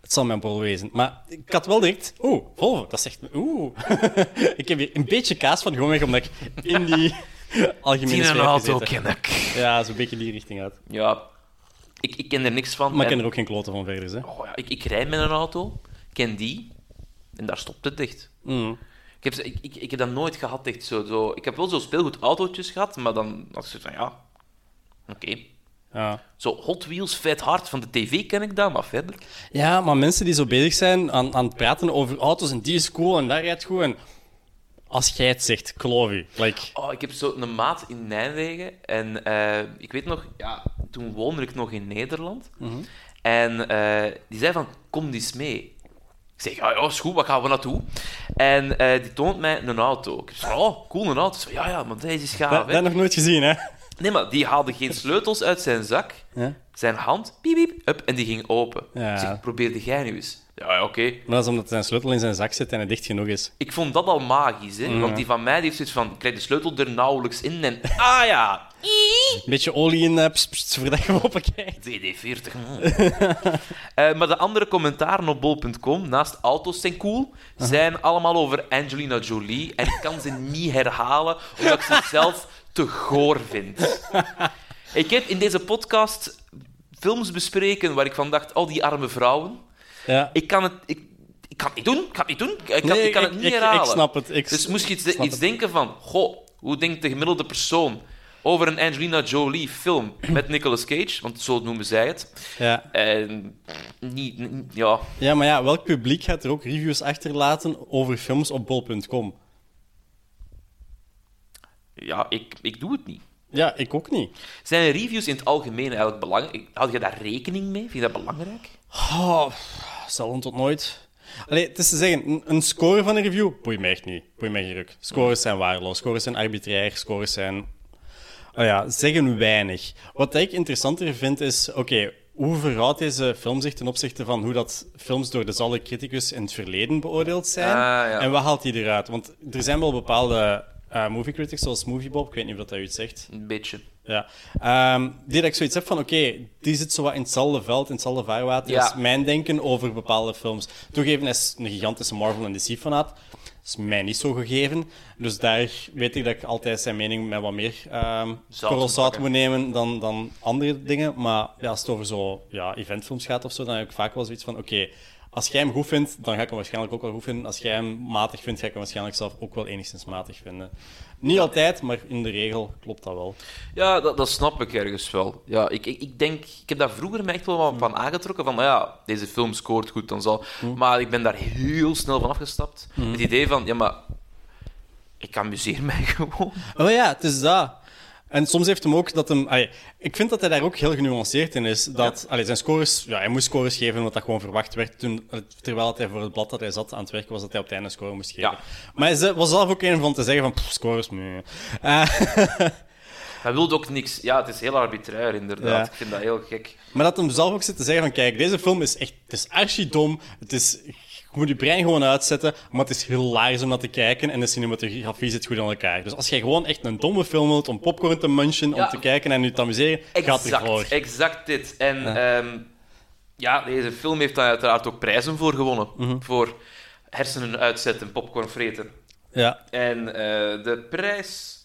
C: het zal mijn bol wezen. Maar ik had wel direct, oeh, Volvo, dat zegt me, oeh. *laughs* ik heb hier een beetje kaas van, gewoonweg omdat ik in die algemene
D: Die een
C: sfeer heb
D: auto
C: gezeten.
D: ken ik.
C: Ja, zo'n beetje die richting uit.
D: Ja, ik, ik ken er niks van.
C: Maar ik
D: En-
C: ken er ook geen kloten van verder, hè.
D: Oh ja, ik, ik rijd met een auto, ken die, en daar stopt het echt. Ik, heb, ze- ik, ik, ik heb dat nooit gehad, echt zo, zo. Ik heb wel zo speelgoed autootjes gehad, maar dan dacht ik van ja, oké.
C: Ja.
D: Zo Hot Wheels, vet hard van de tv ken ik dat, maar verder.
C: ja, maar mensen die zo bezig zijn aan, aan het praten over auto's en die is cool en daar rijdt goed en... Als jij het zegt, geloof je. Like,
D: Oh, ik heb zo een maat in Nijmegen. En eh, ik weet nog, ja, toen woonde ik nog in Nederland.
C: Mhm.
D: En eh, die zei van, kom eens mee. Ik zeg, ja, ja, is goed, wat gaan we naartoe? En eh, die toont mij een auto. Ik zeg, oh, cool, een auto. Zo, ja, ja, maar deze is gaaf,
C: dat,
D: hè.
C: dat nog nooit gezien, hè.
D: Nee, maar die haalde geen sleutels uit zijn zak.
C: Ja.
D: Zijn hand, piep, piep, up, en die ging open.
C: Ja.
D: Ik zeg, probeerde jij nu eens. Ja, ja, oké.
C: Maar dat is omdat zijn sleutel in zijn zak zit en het dicht genoeg is.
D: Ik vond dat al magisch, hè.
C: Mhm.
D: Want die van mij die heeft zoiets van, ik krijg de sleutel er nauwelijks in en... Ah ja,
C: Een beetje olie in, eh, pst, pst, voordat je open kijkt.
D: DD40. mm. Eh, maar de andere commentaren op bol.com, naast auto's zijn cool, zijn allemaal over Angelina Jolie. En ik kan ze niet herhalen, omdat ik ze zelf te goor vind. Ik heb in deze podcast films bespreken waar ik van dacht, al die arme vrouwen.
C: Ja.
D: Ik kan het... Ik, ik kan het niet doen, ik kan het niet doen. Ik kan,
C: Nee,
D: ik kan
C: ik-
D: het niet
C: ik- ik
D: herhalen.
C: snap het, ik
D: dus moest je iets,
C: snap
D: iets
C: het.
D: denken van... Goh, hoe denkt de gemiddelde persoon over een Angelina Jolie
C: *clears throat*
D: film met Nicolas Cage? Want zo noemen zij het.
C: Ja.
D: En niet... niet- Ja,
C: ja, maar ja, welk publiek gaat er ook reviews achterlaten over films op bol.com?
D: ja ik, ik doe het niet.
C: Ja, ik ook niet.
D: Zijn reviews in het algemeen eigenlijk belangrijk? Houd je daar rekening mee? Vind je dat belangrijk?
C: Oh, zelden tot nooit. Allee, het is te zeggen, een- een score van een review boeit mij echt niet. Boeit mij geen ruk. Scores zijn waardeloos, scores zijn arbitrair, scores zijn... Oh ja, zeggen weinig. Wat ik interessanter vind is, oké, hoe verhoudt deze film zich ten opzichte van hoe dat films door dezelfde criticus in het verleden beoordeeld zijn?
D: Ah, ja.
C: En wat haalt die eruit? Want er zijn wel bepaalde eh movie critics, zoals Moviebob, ik weet niet of dat dat u iets zegt.
D: Een beetje.
C: Ja. Ehm die dat ik zoiets heb van, oké, die zit zo wat in hetzelfde veld, in hetzelfde vaarwater
D: Ja.
C: als mijn denken over bepaalde films. Toegeven is een gigantische Marvel en DC-fanaat. is mij niet zo gegeven. Dus daar weet ik dat ik altijd zijn mening met wat meer ehm
D: Zout
C: korrel zout
D: pakken.
C: moet nemen dan, dan andere dingen. Maar ja, als het over zo ja, eventfilms gaat of zo, dan heb ik vaak wel zoiets van, oké, als jij hem goed vindt, dan ga ik hem waarschijnlijk ook wel goed vinden. Als jij hem matig vindt, ga ik hem waarschijnlijk zelf ook wel enigszins matig vinden. Niet altijd, maar in de regel klopt dat wel.
D: Ja, dat, dat snap ik ergens wel. Ja, ik, ik, ik denk, ik heb daar vroeger me echt wel wat van aangetrokken. Van, nou ja, deze film scoort goed, dan zal...
C: Hmm.
D: Maar ik ben daar heel snel van afgestapt. Het idee van, ja, maar... Ik amuseer *laughs* mij gewoon.
C: Oh ja, het is dat. En soms heeft hem ook dat hem. allee, ik vind dat hij daar ook heel genuanceerd in is. Dat, allee, zijn scores, ja, hij moest scores geven omdat dat gewoon verwacht werd. Toen, terwijl dat hij voor het blad dat hij zat aan het werken was, dat hij op het einde een score moest geven.
D: Ja.
C: Maar hij ze- was zelf ook een van te zeggen: van "Pff, scores. meh." Eh,
D: Hij wilde ook niks. Ja, het is heel arbitrair, inderdaad.
C: Ja.
D: Ik vind dat heel gek.
C: Maar dat hem zelf ook zit te zeggen van, kijk, deze film is echt... Het is archidom. Het is... Je moet je brein gewoon uitzetten, maar het is hilarisch om naar te kijken en de cinematografie zit goed aan elkaar. Dus als jij gewoon echt een domme film wilt om popcorn te munchen,
D: Ja.
C: om te kijken en je te amuseren, gaat ervoor.
D: Exact, exact dit. En ehm, ja, deze film heeft daar uiteraard ook prijzen voor gewonnen.
C: Mhm.
D: Voor hersenen uitzetten, popcorn vreten.
C: Ja.
D: En eh, de prijs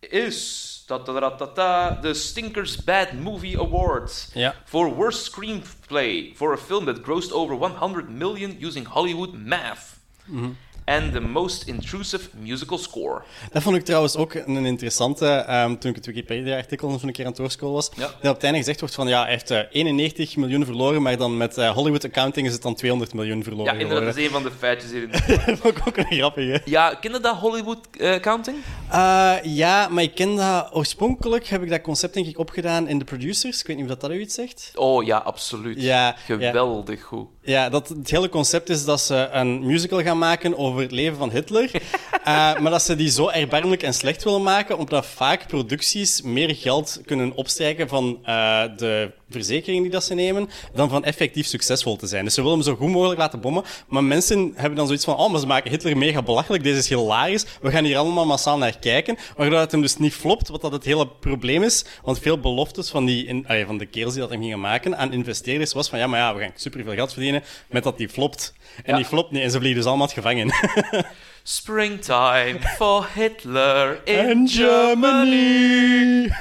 D: is... tatatatata, De Stinkers Bad Movie Award.
C: Ja.
D: For worst screenplay for a film that grossed over 100 million using Hollywood math.
C: Mhm.
D: And the most intrusive musical score.
C: Dat vond ik trouwens ook een interessante, ehm, toen ik het Wikipedia-artikel nog een keer aan het doorscrollen was,
D: Ja.
C: dat op het einde gezegd wordt van, ja, hij heeft eh, 91 miljoen verloren, maar dan met eh, Hollywood accounting is het dan 200 miljoen
D: Ja,
C: verloren
D: inderdaad, dat
C: geworden.
D: is een van de feitjes hierin.
C: *laughs* Dat vond ik ook een grappige.
D: *laughs* Ja, ken je dat Hollywood eh, Accounting?
C: Eh, ja, maar ik ken dat... Oorspronkelijk heb ik dat concept denk ik opgedaan in de producers. Ik weet niet of dat, dat u iets zegt.
D: Oh ja, absoluut.
C: Ja,
D: Geweldig goed.
C: Ja, dat het hele concept is dat ze een musical gaan maken over het leven van Hitler. Eh, maar dat ze die zo erbarmelijk en slecht willen maken, omdat vaak producties meer geld kunnen opstrijken van eh, de verzekering die dat ze nemen, dan van effectief succesvol te zijn. Dus ze willen hem zo goed mogelijk laten bommen. Maar mensen hebben dan zoiets van, oh, maar ze maken Hitler mega belachelijk, deze is hilarisch, we gaan hier allemaal massaal naar kijken. Waardoor het hem dus niet flopt, wat dat het hele probleem is. Want veel beloftes van, die, in- allee, van de kerels die dat hem gingen maken aan investeerders was van, ja, maar ja, we gaan superveel geld verdienen met dat die flopt. En
D: Ja.
C: die flopt niet, en ze vliegen dus allemaal het gevangen.
D: Springtime for Hitler
C: *laughs*
D: in,
C: En
D: Germany.
C: Germany!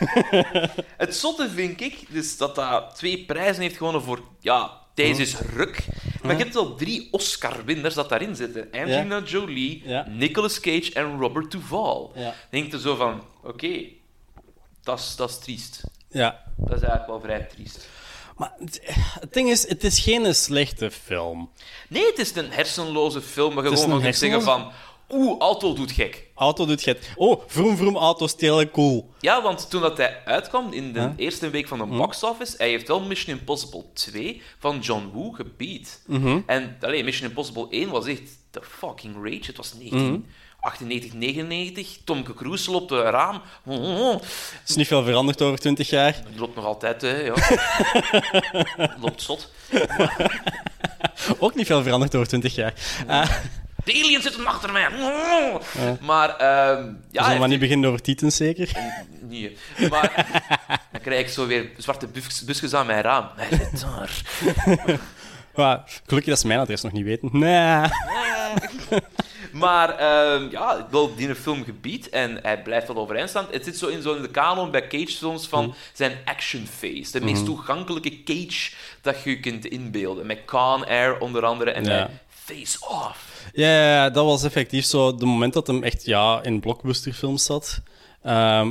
D: Het zotte vind ik, dus dat dat twee prijzen heeft gewonnen voor... Ja, deze
C: Hm.
D: is ruk. Maar je hebt wel drie Oscar-winners dat daarin zitten. Angelina Jolie,
C: Ja.
D: Nicolas Cage en Robert Duvall.
C: Ja.
D: Denk er zo van, oké, dat is- dat is triest.
C: *laughs* Ja.
D: Dat is eigenlijk wel vrij triest.
C: Maar het- het ding is, het is geen slechte film.
D: Nee, het is een hersenloze film, maar
C: is
D: gewoon
C: een
D: van zeggen van... Oeh, Alto doet gek.
C: Auto doet het. Oh, vroom vroom auto stelen, cool.
D: Ja, want toen dat hij uitkwam in de eerste week van de box office, hij heeft wel Mission Impossible 2 van John Woo gebied. En allee, Mission Impossible 1 was echt de fucking rage. Het was 1998, 99. Tomke Cruise loopt door een raam.
C: Is niet veel veranderd over 20 jaar.
D: oh. Die loopt nog altijd, hè, ja. loopt zot.
C: Ook niet veel veranderd over 20 jaar. Ah,
D: De aliens zitten achter mij. Oh, Maar, ehm ja...
C: Zullen
D: hij
C: we dus maar niet beginnen over Titans, zeker?
D: Nee, maar dan krijg ik zo weer zwarte bus- busjes aan mijn raam. Hij zit daar.
C: Maar, gelukkig dat ze mijn adres nog niet weten. Nee.
D: Maar ehm, ja, ik wil die een film gebied en hij blijft wel overeind staan. Het zit zo in, zo in de kanon bij Cage films
C: Mhm.
D: van zijn action phase. De meest toegankelijke Cage dat je je kunt inbeelden. Met Con Air onder andere en
C: Ja.
D: met Face Off.
C: Ja, ja, ja, dat was effectief zo. De moment dat hem echt ja, in blockbusterfilms zat. Ehm,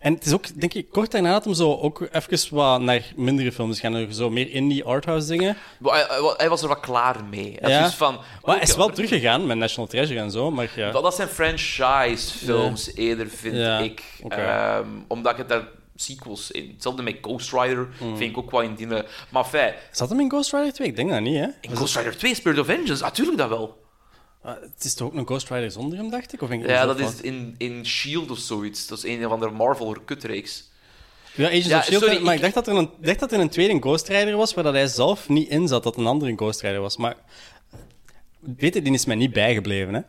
C: en het is ook, denk ik, kort daarna dat hem zo ook even wat naar mindere films is gaan. er Zo meer indie arthouse dingen.
D: Maar Hij, hij- hij was er wel klaar mee. Hij
C: Ja. Oh,
D: was dus van,
C: Maar hij
D: oké,
C: is wel teruggegaan met National Treasure en zo. Maar ja.
D: Dat, dat zijn franchise-films eerder, vind
C: Ja,
D: ik.
C: oké.
D: Ehm, omdat ik daar sequels in. Hetzelfde met Ghost Rider
C: Mhm.
D: vind ik ook wel in die... eh, Maar fijn,
C: Zat hem in Ghost Rider 2? Ik denk dat niet, hè?
D: in Ghost Rider 2, Spirit of Vengeance, natuurlijk dat wel.
C: Ah, het is toch ook een Ghost Rider zonder hem, dacht ik? Of denk ik
D: Ja,
C: mezelf
D: dat
C: wat?
D: is in, in S.H.I.E.L.D. E of zoiets. Dat is een of andere Marvel-kutreeks.
C: Ja, Agents
D: Ja,
C: of S.H.I.E.L.D.
D: sorry,
C: maar
D: ik-
C: ik dacht dat, er een, ik dacht dat er een tweede Ghost Rider was, waar dat hij zelf niet in zat, dat een andere Ghost Rider was. Maar weet je, die is mij niet bijgebleven, hè?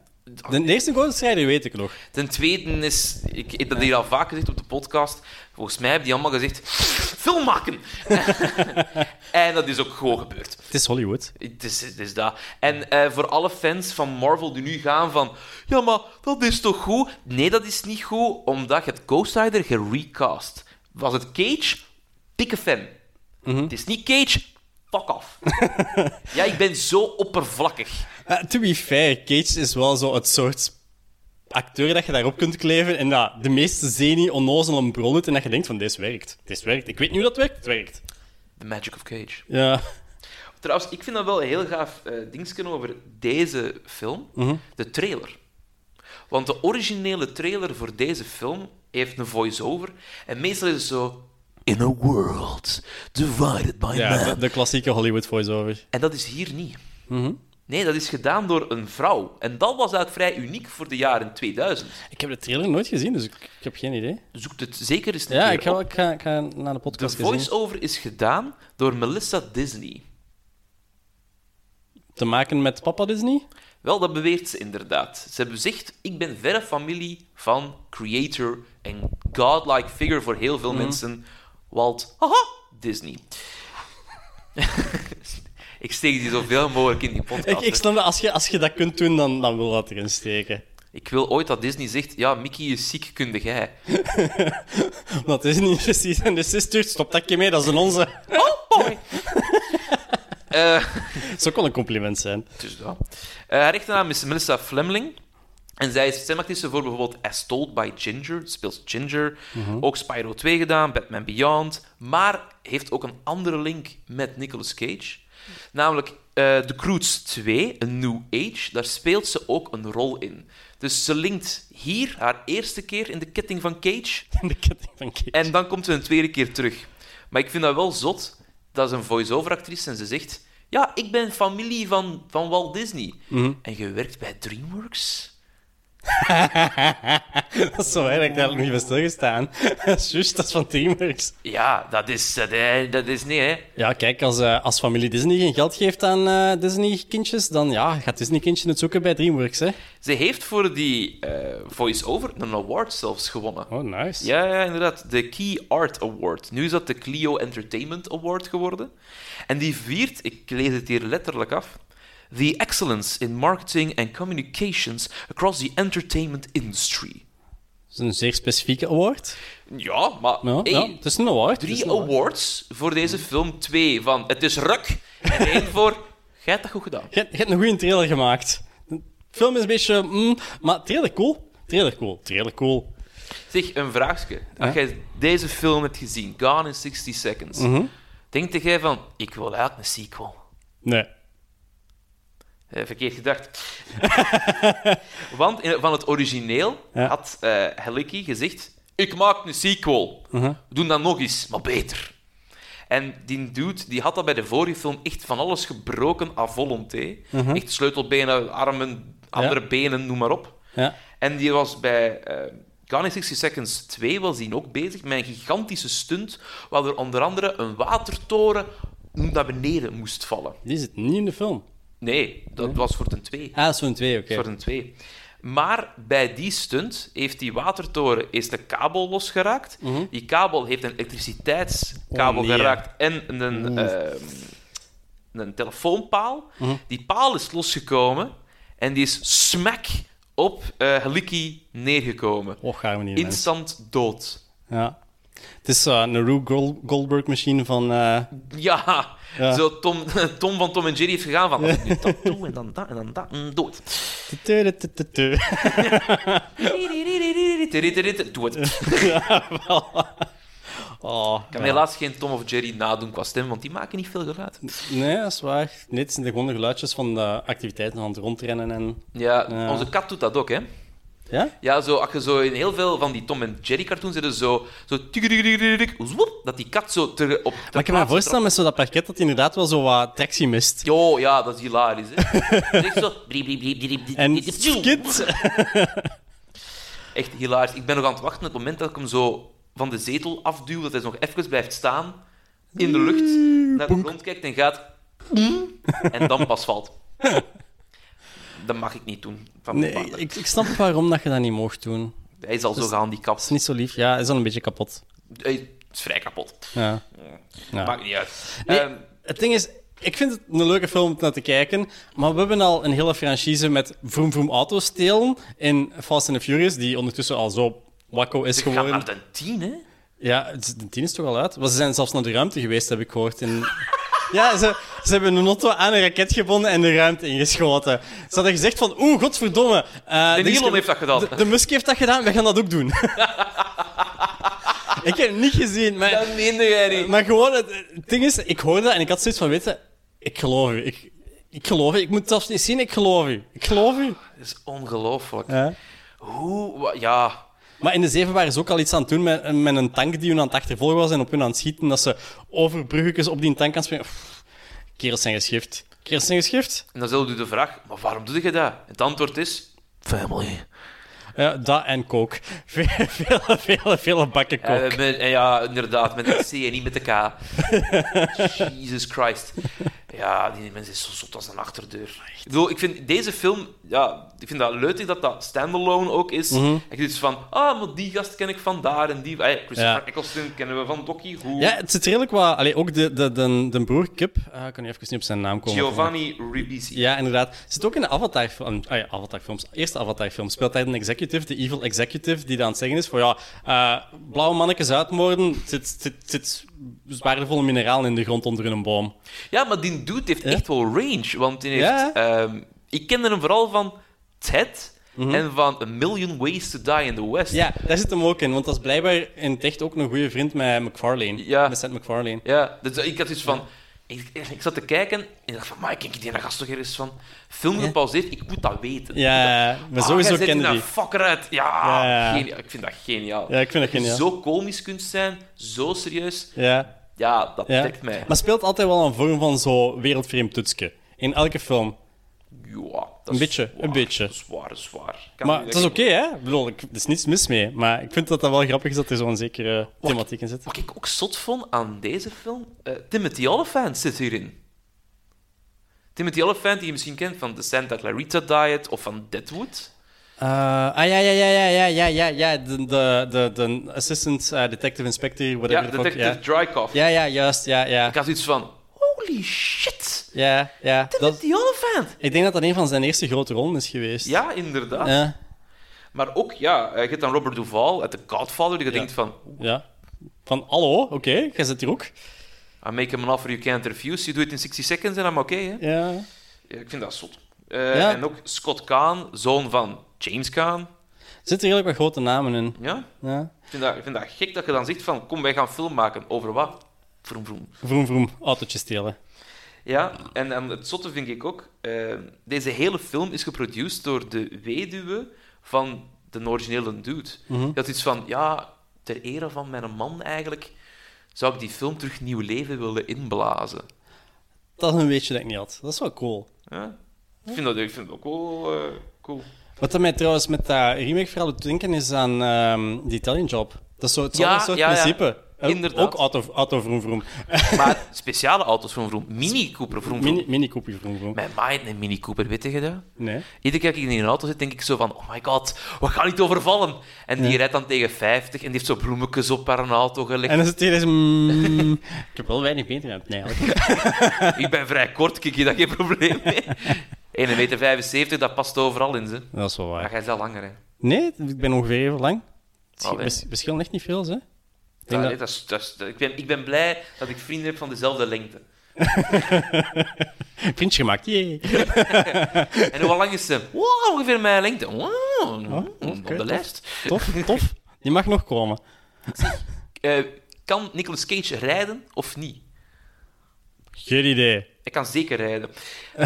C: De eerste Ghost Rider weet ik nog.
D: Ten tweede is... Ik heb dat hier al vaak gezegd op de podcast. Volgens mij hebben die allemaal gezegd... Film maken! *laughs* en dat is ook gewoon gebeurd.
C: Het is Hollywood.
D: Het is, het is dat. En eh, voor alle fans van Marvel die nu gaan van... Ja, maar dat is toch goed? Nee, dat is niet goed, omdat je het Ghost Rider gerecast. Was het Cage? Dikke fan. Het is niet Cage? Fuck off. ja, ik ben zo oppervlakkig.
C: Eh, to be fair, Cage is wel zo het soort acteur dat je daarop kunt kleven en dat de meeste zenie onnozel een brol doet en dat je denkt van, dit werkt. Dit werkt. Ik weet niet hoe dat werkt. Het werkt.
D: The Magic of Cage.
C: Ja.
D: Trouwens, ik vind dat wel een heel gaaf eh dingetje over deze film.
C: Mhm.
D: De trailer. Want de originele trailer voor deze film heeft een voice-over. En meestal is het zo... In a world divided by
C: Ja,
D: man.
C: *laughs* de, de klassieke Hollywood voice-over. Mhm.
D: En dat is hier niet. Nee, dat is gedaan door een vrouw. En dat was eigenlijk vrij uniek voor de jaren 2000.
C: Ik heb de trailer nooit gezien, dus ik, ik heb geen idee.
D: Zoek het zeker eens een
C: Ja,
D: keer
C: ik ga,
D: op.
C: ik ga, ik ga naar de
D: De
C: podcast eens zien.
D: voice-over is gedaan door Melissa Disney.
C: Te maken met Papa Disney?
D: Wel, dat beweert ze inderdaad. Ze hebben gezegd, ik ben verre familie van creator en godlike figure voor heel
C: Mhm.
D: veel mensen. Walt, haha, Disney. *laughs* ik steek die zoveel mogelijk in die
C: Ik,
D: podcast.
C: ik snap dat als je, als je dat kunt doen, dan, dan wil dat erin steken.
D: Ik wil ooit dat Disney zegt, ja, Mickey is ziek, kunde jij.
C: Dat is niet precies. En de zus stuurt, stop dat je mee, dat is een onze.
D: Oh,
C: *laughs*
D: boy. Eh,
C: Zo kon een compliment zijn.
D: dus dat. Eh, haar echte naam is Melissa Flemling. En zij is stemactrice voor bijvoorbeeld As Told by Ginger, speelt Ginger. Ook Spyro 2 gedaan, Batman Beyond. Maar heeft ook een andere link met Nicolas Cage. Namelijk eh The Croods 2, een New Age. Daar speelt ze ook een rol in. Dus ze linkt hier haar eerste keer in de ketting van Cage.
C: In de ketting van Kees.
D: En dan komt ze een tweede keer terug. Maar ik vind dat wel zot. Dat is een voice-over actrice en ze zegt... Ja, ik ben familie van, van Walt Disney. En je werkt bij DreamWorks?
C: *laughs* dat is zo erg, ik daar heb ik niet bij stilgestaan. *laughs* dat is juist, dat is van Dreamworks.
D: Ja, dat is... Dat, eh, dat is niet, hè.
C: Ja, kijk, als, eh, als familie Disney geen geld geeft aan eh, Disney-kindjes, dan ja, gaat Disney-kindje het zoeken bij Dreamworks, hè.
D: Ze heeft voor die eh, voice-over een award zelfs gewonnen.
C: Oh, nice.
D: Ja, ja, inderdaad. De Key Art Award. Nu is dat de Clio Entertainment Award geworden. En die viert, ik lees het hier letterlijk af, The Excellence in Marketing and Communications Across the Entertainment Industry.
C: Dat is een zeer specifieke award.
D: Ja, maar
C: Ja,
D: hey,
C: ja, het is een award. het is Mm.
D: drie
C: een award.
D: awards voor deze film. Twee van Het is ruk en
C: *laughs*
D: één voor Jij hebt dat goed gedaan.
C: Je, hebt- je hebt een goede trailer gemaakt. De film is een beetje... mm, maar trailer cool. Trailer cool. Trailer cool.
D: Zeg, een vraagje. Als jij deze film hebt gezien, Gone in 60 Seconds,
C: Mhm.
D: denk jij van, ik wil eigenlijk een sequel?
C: Nee.
D: Eh, verkeerd gedacht. *laughs* Want in- van het origineel
C: Ja.
D: had eh Hellicky gezegd: Ik maak een sequel.
C: Uh-huh.
D: Doe dat nog eens, maar beter. En die dude die had dat bij de vorige film echt van alles gebroken à volonté.
C: Uh-huh.
D: Echt sleutelbenen, armen, andere benen, noem maar op.
C: Ja.
D: En die was bij eh Gone in 60 Seconds 2 was die ook bezig met een gigantische stunt, waardoor onder andere een watertoren naar beneden moest vallen.
C: Die zit niet in de film.
D: Nee, dat was voor ten 2.
C: Ah, dat is zo'n twee, oké.
D: Voor een twee. Maar bij die stunt heeft die watertoren eerst een kabel losgeraakt. Die kabel heeft een elektriciteitskabel
C: Oh, Mhm. nee.
D: geraakt en een, ehm, een telefoonpaal.
C: Mhm.
D: Die paal is losgekomen en die is smack op eh Heliki neergekomen.
C: Och, gaan we niet, mens.
D: Instant dood.
C: Ja. Het is eh, een Rue Gol- Goldberg-machine van... eh,
D: Ja,
C: Ja.
D: zo Tom, *laughs* Tom van Tom en Jerry heeft gegaan van... "Als ik nu Dat doe en dan dat en dan dat, mm, dood.
C: tudu-tudu-tudu.
D: Doe het.
C: *laughs* Ja, wel. Oh,
D: Ik kan helaas geen Tom of Jerry nadoen qua stem, want die maken niet veel geluid.
C: Nee, dat is waar. Nee, het zijn gewoon de geluidjes van de activiteiten van het rondrennen en...
D: Ja,
C: Ja.
D: onze kat doet dat ook, hè.
C: Ja?
D: Ja, zo, als je zo in heel veel van die Tom en Jerry cartoons zitten zo... zo tikkerikkerikkerik, zwoep, dat die kat zo ter, op... ter
C: Maar ik kan me
D: plaatse
C: voorstellen met zo dat parket dat hij inderdaad wel zo wat tractie mist.
D: trapt. Jo, ja, dat is hilarisch,
C: *laughs*
D: hè. Echt zo... bliep, bliep, bliep, bliep, bliep,
C: En
D: bliep, bliep, bliep.
C: skit.
D: *laughs* Echt hilarisch. Ik ben nog aan het wachten op het moment dat ik hem zo van de zetel afduw, dat hij nog even blijft staan, in de lucht, naar de grond kijkt en gaat...
C: *laughs*
D: En dan pas valt. Dat mag ik niet doen. Van mijn
C: Nee,
D: partner.
C: ik, ik snap waarom dat je dat niet mocht doen. Dat
D: Hij is al zo
C: is
D: gehandicapt.
C: niet zo lief. Ja, hij is al een beetje kapot.
D: Hij is vrij kapot.
C: Ja. Ja.
D: Maakt niet uit.
C: Nee,
D: Ehm,
C: het ding is, ik vind het een leuke film om naar te kijken, maar we hebben al een hele franchise met vroom vroom auto's stelen in Fast and the Furious, die ondertussen al zo wakko is
D: ze gaan
C: geworden.
D: dus naar de tien, hè?
C: Ja, het is- de tien is toch al uit? Maar ze zijn zelfs naar de ruimte geweest, heb ik gehoord. In... *laughs* Ja, ze, ze hebben een auto aan een raket gebonden en de ruimte ingeschoten. Ze hadden gezegd van, oeh, godverdomme. eh,
D: De
C: dit is-
D: Elon heeft dat gedaan.
C: De, de Musk heeft dat gedaan, wij gaan dat ook doen.
D: *laughs*
C: ik heb het niet gezien, maar...
D: Dat meende jij niet.
C: Maar gewoon, het, het ding is, ik hoorde dat en ik had zoiets van, weet je, ik geloof u. Ik, ik geloof u. Ik moet het zelfs niet zien, ik geloof u. Ik geloof u.
D: Dat is ongelooflijk.
C: Ja.
D: Hoe... wa- ja...
C: Maar in de zeven waren ze ook al iets aan het doen met, met een tank die hun aan het achtervolgen was en op hun aan het schieten, dat ze over bruggetjes op die tank aan het springen. Pff, Kerels zijn geschift. Kersengeschift?
D: En dan stel je de vraag, maar waarom doe je dat? Het antwoord is, family.
C: Ja, dat en kook. *laughs* Vele, vele, vele, vele bakken
D: Ja,
C: kook.
D: met- en ja, inderdaad, met een C en niet met de
C: *laughs*
D: K. Jesus Christ. Ja, die mensen is zo zot als een achterdeur. Ik bedoel, ik vind deze film... Ja, ik vind dat leuk dat dat standalone ook is.
C: Mhm.
D: Ik dus van, ah, maar die gast ken ik van daar en die... Eh, Christopher
C: Ja.
D: Eccleston kennen we van Doki Who.
C: Ja, het zit redelijk wat... Allee, ook de, de, de, de broer Kip, eh, ik kan nu even niet op zijn naam komen.
D: Giovanni Ribisi.
C: Ja, inderdaad. Zit ook in de Avatar-film. Ah ja, Avatar-films. Eerste Avatar-film. Speelt hij een executive, de evil executive, die dan aan het zeggen is voor ja, eh, blauwe mannetjes uitmoorden, zit, zit, zit waardevolle mineralen in de grond onder hun boom.
D: Ja, maar die dude heeft echt wel range. Want die heeft...
C: Ja.
D: ehm, ik kende hem vooral van Ted en van A Million Ways to Die in the West.
C: Mhm. Ja, daar zit hem ook in, want dat is blijkbaar in het echt ook een goede vriend met McFarlane.
D: Ja.
C: Met Seth MacFarlane.
D: Ja, dus ik had iets van... Ik, ik zat te kijken en ik dacht van, maar ik denk die gast toch ergens van... Film gepauzeerd, ik moet dat weten.
C: Ja,
D: Ah,
C: maar sowieso
D: ken
C: kennen
D: die.
C: die.
D: fucker uit. Ja,
C: Ja, ja, ja.
D: geniaal. ik vind dat geniaal.
C: Ja, ik vind dat
D: je
C: geniaal.
D: zo komisch kunt zijn, zo serieus.
C: Ja.
D: Ja, dat
C: ja.
D: trekt mij.
C: Maar speelt altijd wel een vorm van zo wereldvreemd toetske. In elke film.
D: Ja, dat
C: Een
D: is
C: beetje, een
D: waar.
C: beetje.
D: Dat is waar, dat is waar. Ik kan
C: Maar
D: niet
C: dat is oké,
D: zeggen.
C: hè? Ik bedoel, ik- er is niets mis mee. Maar ik vind dat dat wel grappig is dat er zo'n zekere thematiek in zit.
D: Wat ik ook zot vond aan deze film, eh, Timothy Olyphant zit hierin. Timothy Olyphant, die je misschien kent van de Santa Clarita Diet of van Deadwood.
C: Eh, ah, ja, ja, ja, ja, ja, ja, ja, ja. De, de, de, de assistant eh, detective inspector,
D: Ja,
C: whatever the fuck.
D: Detective
C: Ja.
D: Drykoff.
C: ja, ja, juist, ja, ja.
D: Ik had iets van, holy shit,
C: Ja, ja. Dat,
D: Timothy Olyphant.
C: ik denk dat dat een van zijn eerste grote rollen is geweest.
D: Ja, inderdaad.
C: Ja,
D: Maar ook, ja, eh, je hebt dan Robert Duvall uit The Godfather, die je
C: Ja.
D: denkt van,
C: ja. Van, hallo, oké, jij zit hier ook.
D: I make him an offer you can't refuse, je doet het in 60 seconds en I'm oké, hè.
C: Ja.
D: Ja, ik vind dat zot. Eh,
C: Ja.
D: En ook Scott Kahn, zoon van James Kahn.
C: Er zitten redelijk wat grote namen in.
D: Ja?
C: Ja.
D: Ik vind, dat, ik vind dat gek dat je dan zegt van, kom, wij gaan film maken. Over wat? Vroom, vroom.
C: Vroom, vroom, autootjes stelen.
D: Ja, en, en het zotte vind ik ook, eh, deze hele film is geproduceerd door de weduwe van de originele dude. Dat is iets van, ja, ter ere van mijn man eigenlijk, zou ik die film terug nieuw leven willen inblazen.
C: Dat is een beetje dat ik niet had. Dat is wel cool.
D: Ja? Ik, vind dat, ik vind dat ook wel eh, cool.
C: Wat dat mij trouwens met dat remake-verhaal doet denken is aan ehm die Italian Job. Dat is zo hetzelfde
D: Ja,
C: soort
D: ja, ja.
C: principe. Eh,
D: Inderdaad.
C: Ook auto, auto vroom, vroom.
D: Maar speciale auto's van Vroom, Mini Cooper Vroom Vroom.
C: *laughs* Mini, mini koepje vroom, vroom.
D: Mijn ma heeft een Mini Cooper, weet je dat?
C: Nee.
D: Iedere keer dat ik in een auto zit, denk ik zo van, oh my god, we gaan niet overvallen. En die rijdt dan tegen 50 en die heeft zo bloemetjes op haar auto gelegd.
C: En dan zit hij dus... mm, ik heb wel weinig beter aan het nee, eigenlijk.
D: Ik ben vrij kort, kijk je dat geen probleem
C: *laughs*
D: mee. 1,75 meter, 75, dat past overal in, ze.
C: Dat is wel
D: Maar
C: waar.
D: jij is al langer, hè.
C: Nee, ik ben ongeveer even lang.
D: Allee.
C: We verschillen echt niet veel, hè? Ik
D: Ja,
C: denk
D: nee,
C: dat...
D: dat is- dat is- dat- ik, ben, ik ben blij dat ik vrienden heb van dezelfde lengte.
C: Vriendje gemaakt, jee.
D: En hoe lang
C: *laughs*
D: is ze? Wow, ongeveer mijn lengte. Wow, op
C: Oh, oké,
D: de
C: tof.
D: lijst.
C: Tof, tof. Die mag nog komen.
D: *laughs* Eh, kan Nicolas Cage rijden of niet?
C: Geen idee.
D: Hij kan zeker
C: *laughs*
D: rijden.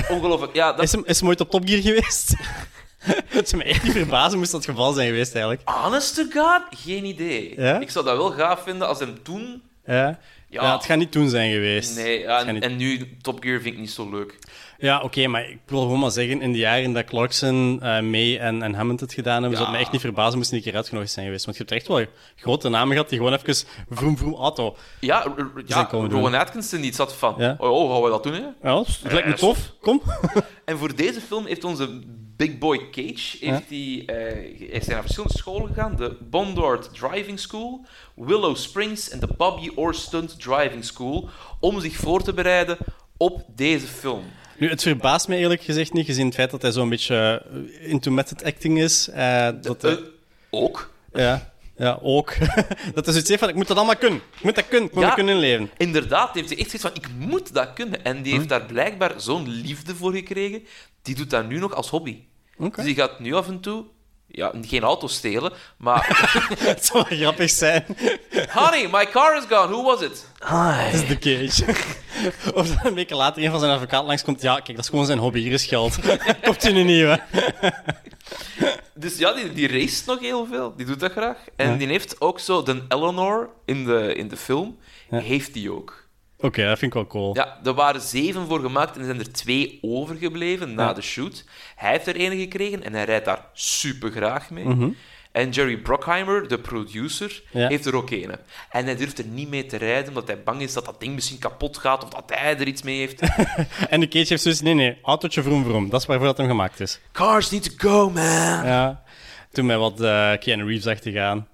D: Ongelooflijk. Ja, dat...
C: Is hem, is hem ooit op Top Gear geweest? *laughs* Het zou me echt niet verbazen moest dat het geval zijn geweest, eigenlijk.
D: Honest to God? Geen idee.
C: Ja?
D: Ik zou dat wel gaaf vinden als hem toen...
C: Ja.
D: Ja.
C: Ja. het gaat niet toen zijn geweest.
D: Nee, ja,
C: Het gaat
D: en,
C: niet-
D: en nu Top Gear vind ik niet zo leuk.
C: Ja, oké, maar ik wil gewoon maar zeggen, in de jaren dat Clarkson, eh May en, en Hammond het gedaan hebben, zou het me echt niet verbazen moest die een keer uitgenodigd zijn geweest. Want je hebt echt wel grote namen gehad die gewoon even vroom vroom auto.
D: Ja, r- r- ja
C: zijn komen doen.
D: Rowan Atkinson die zat van,
C: Ja.
D: oh, oh, gaan we dat doen, hè?
C: Ja, dat is- dat lijkt me tof. Kom. *laughs*
D: En voor deze film heeft onze big boy Cage, heeft die, eh, hij is naar verschillende scholen gegaan, de Bondard Driving School, Willow Springs en de Bobby Orstunt Driving School, om zich voor te bereiden op deze film.
C: Nu, het verbaast me eerlijk gezegd niet, gezien het feit dat hij zo'n beetje eh, into method acting is. eh, dat hij-
D: Eh, ook.
C: ja, ja, ook. *laughs* dat is zoiets heeft van, ik moet dat allemaal kunnen. Ik moet dat kunnen. Ik moet
D: Ja.
C: dat kunnen inleven. *laughs*
D: Inderdaad, die heeft hij echt gezegd van, ik moet dat kunnen. En die heeft daar blijkbaar zo'n liefde voor gekregen, die doet dat nu nog als hobby.
C: Oké.
D: Dus die gaat nu af en toe, ja, geen auto stelen, maar... *laughs*
C: Het zou wel grappig zijn.
D: Honey, my car is gone. Who was it?
C: Dat is de cage. *laughs* Of dan een week later een van zijn advocaat langskomt. Ja, kijk, dat is gewoon zijn hobby. Hier is *laughs* geld. Komt u een nieuwe.
D: Dus ja, die, die race nog heel veel. Die doet dat graag. En die heeft ook zo... De Eleanor in de, in de film, heeft die ook.
C: Oké. Oké, dat vind ik wel cool.
D: Ja, er waren zeven voor gemaakt en er zijn er twee overgebleven na
C: Ja.
D: de shoot. Hij heeft er ene gekregen en hij rijdt daar super graag mee. En Jerry Brockheimer, de producer,
C: Mhm. Ja.
D: heeft er ook ene. En hij durft er niet mee te rijden omdat hij bang is dat dat ding misschien kapot gaat of dat hij er iets mee
C: *laughs*
D: heeft.
C: En de Cage heeft zoiets... Nee, nee, autootje vroom vroom. Dat is waarvoor dat hem gemaakt is.
D: Cars need to go, man!
C: Ja. Toen mij wat eh Keanu Reeves achter gaan.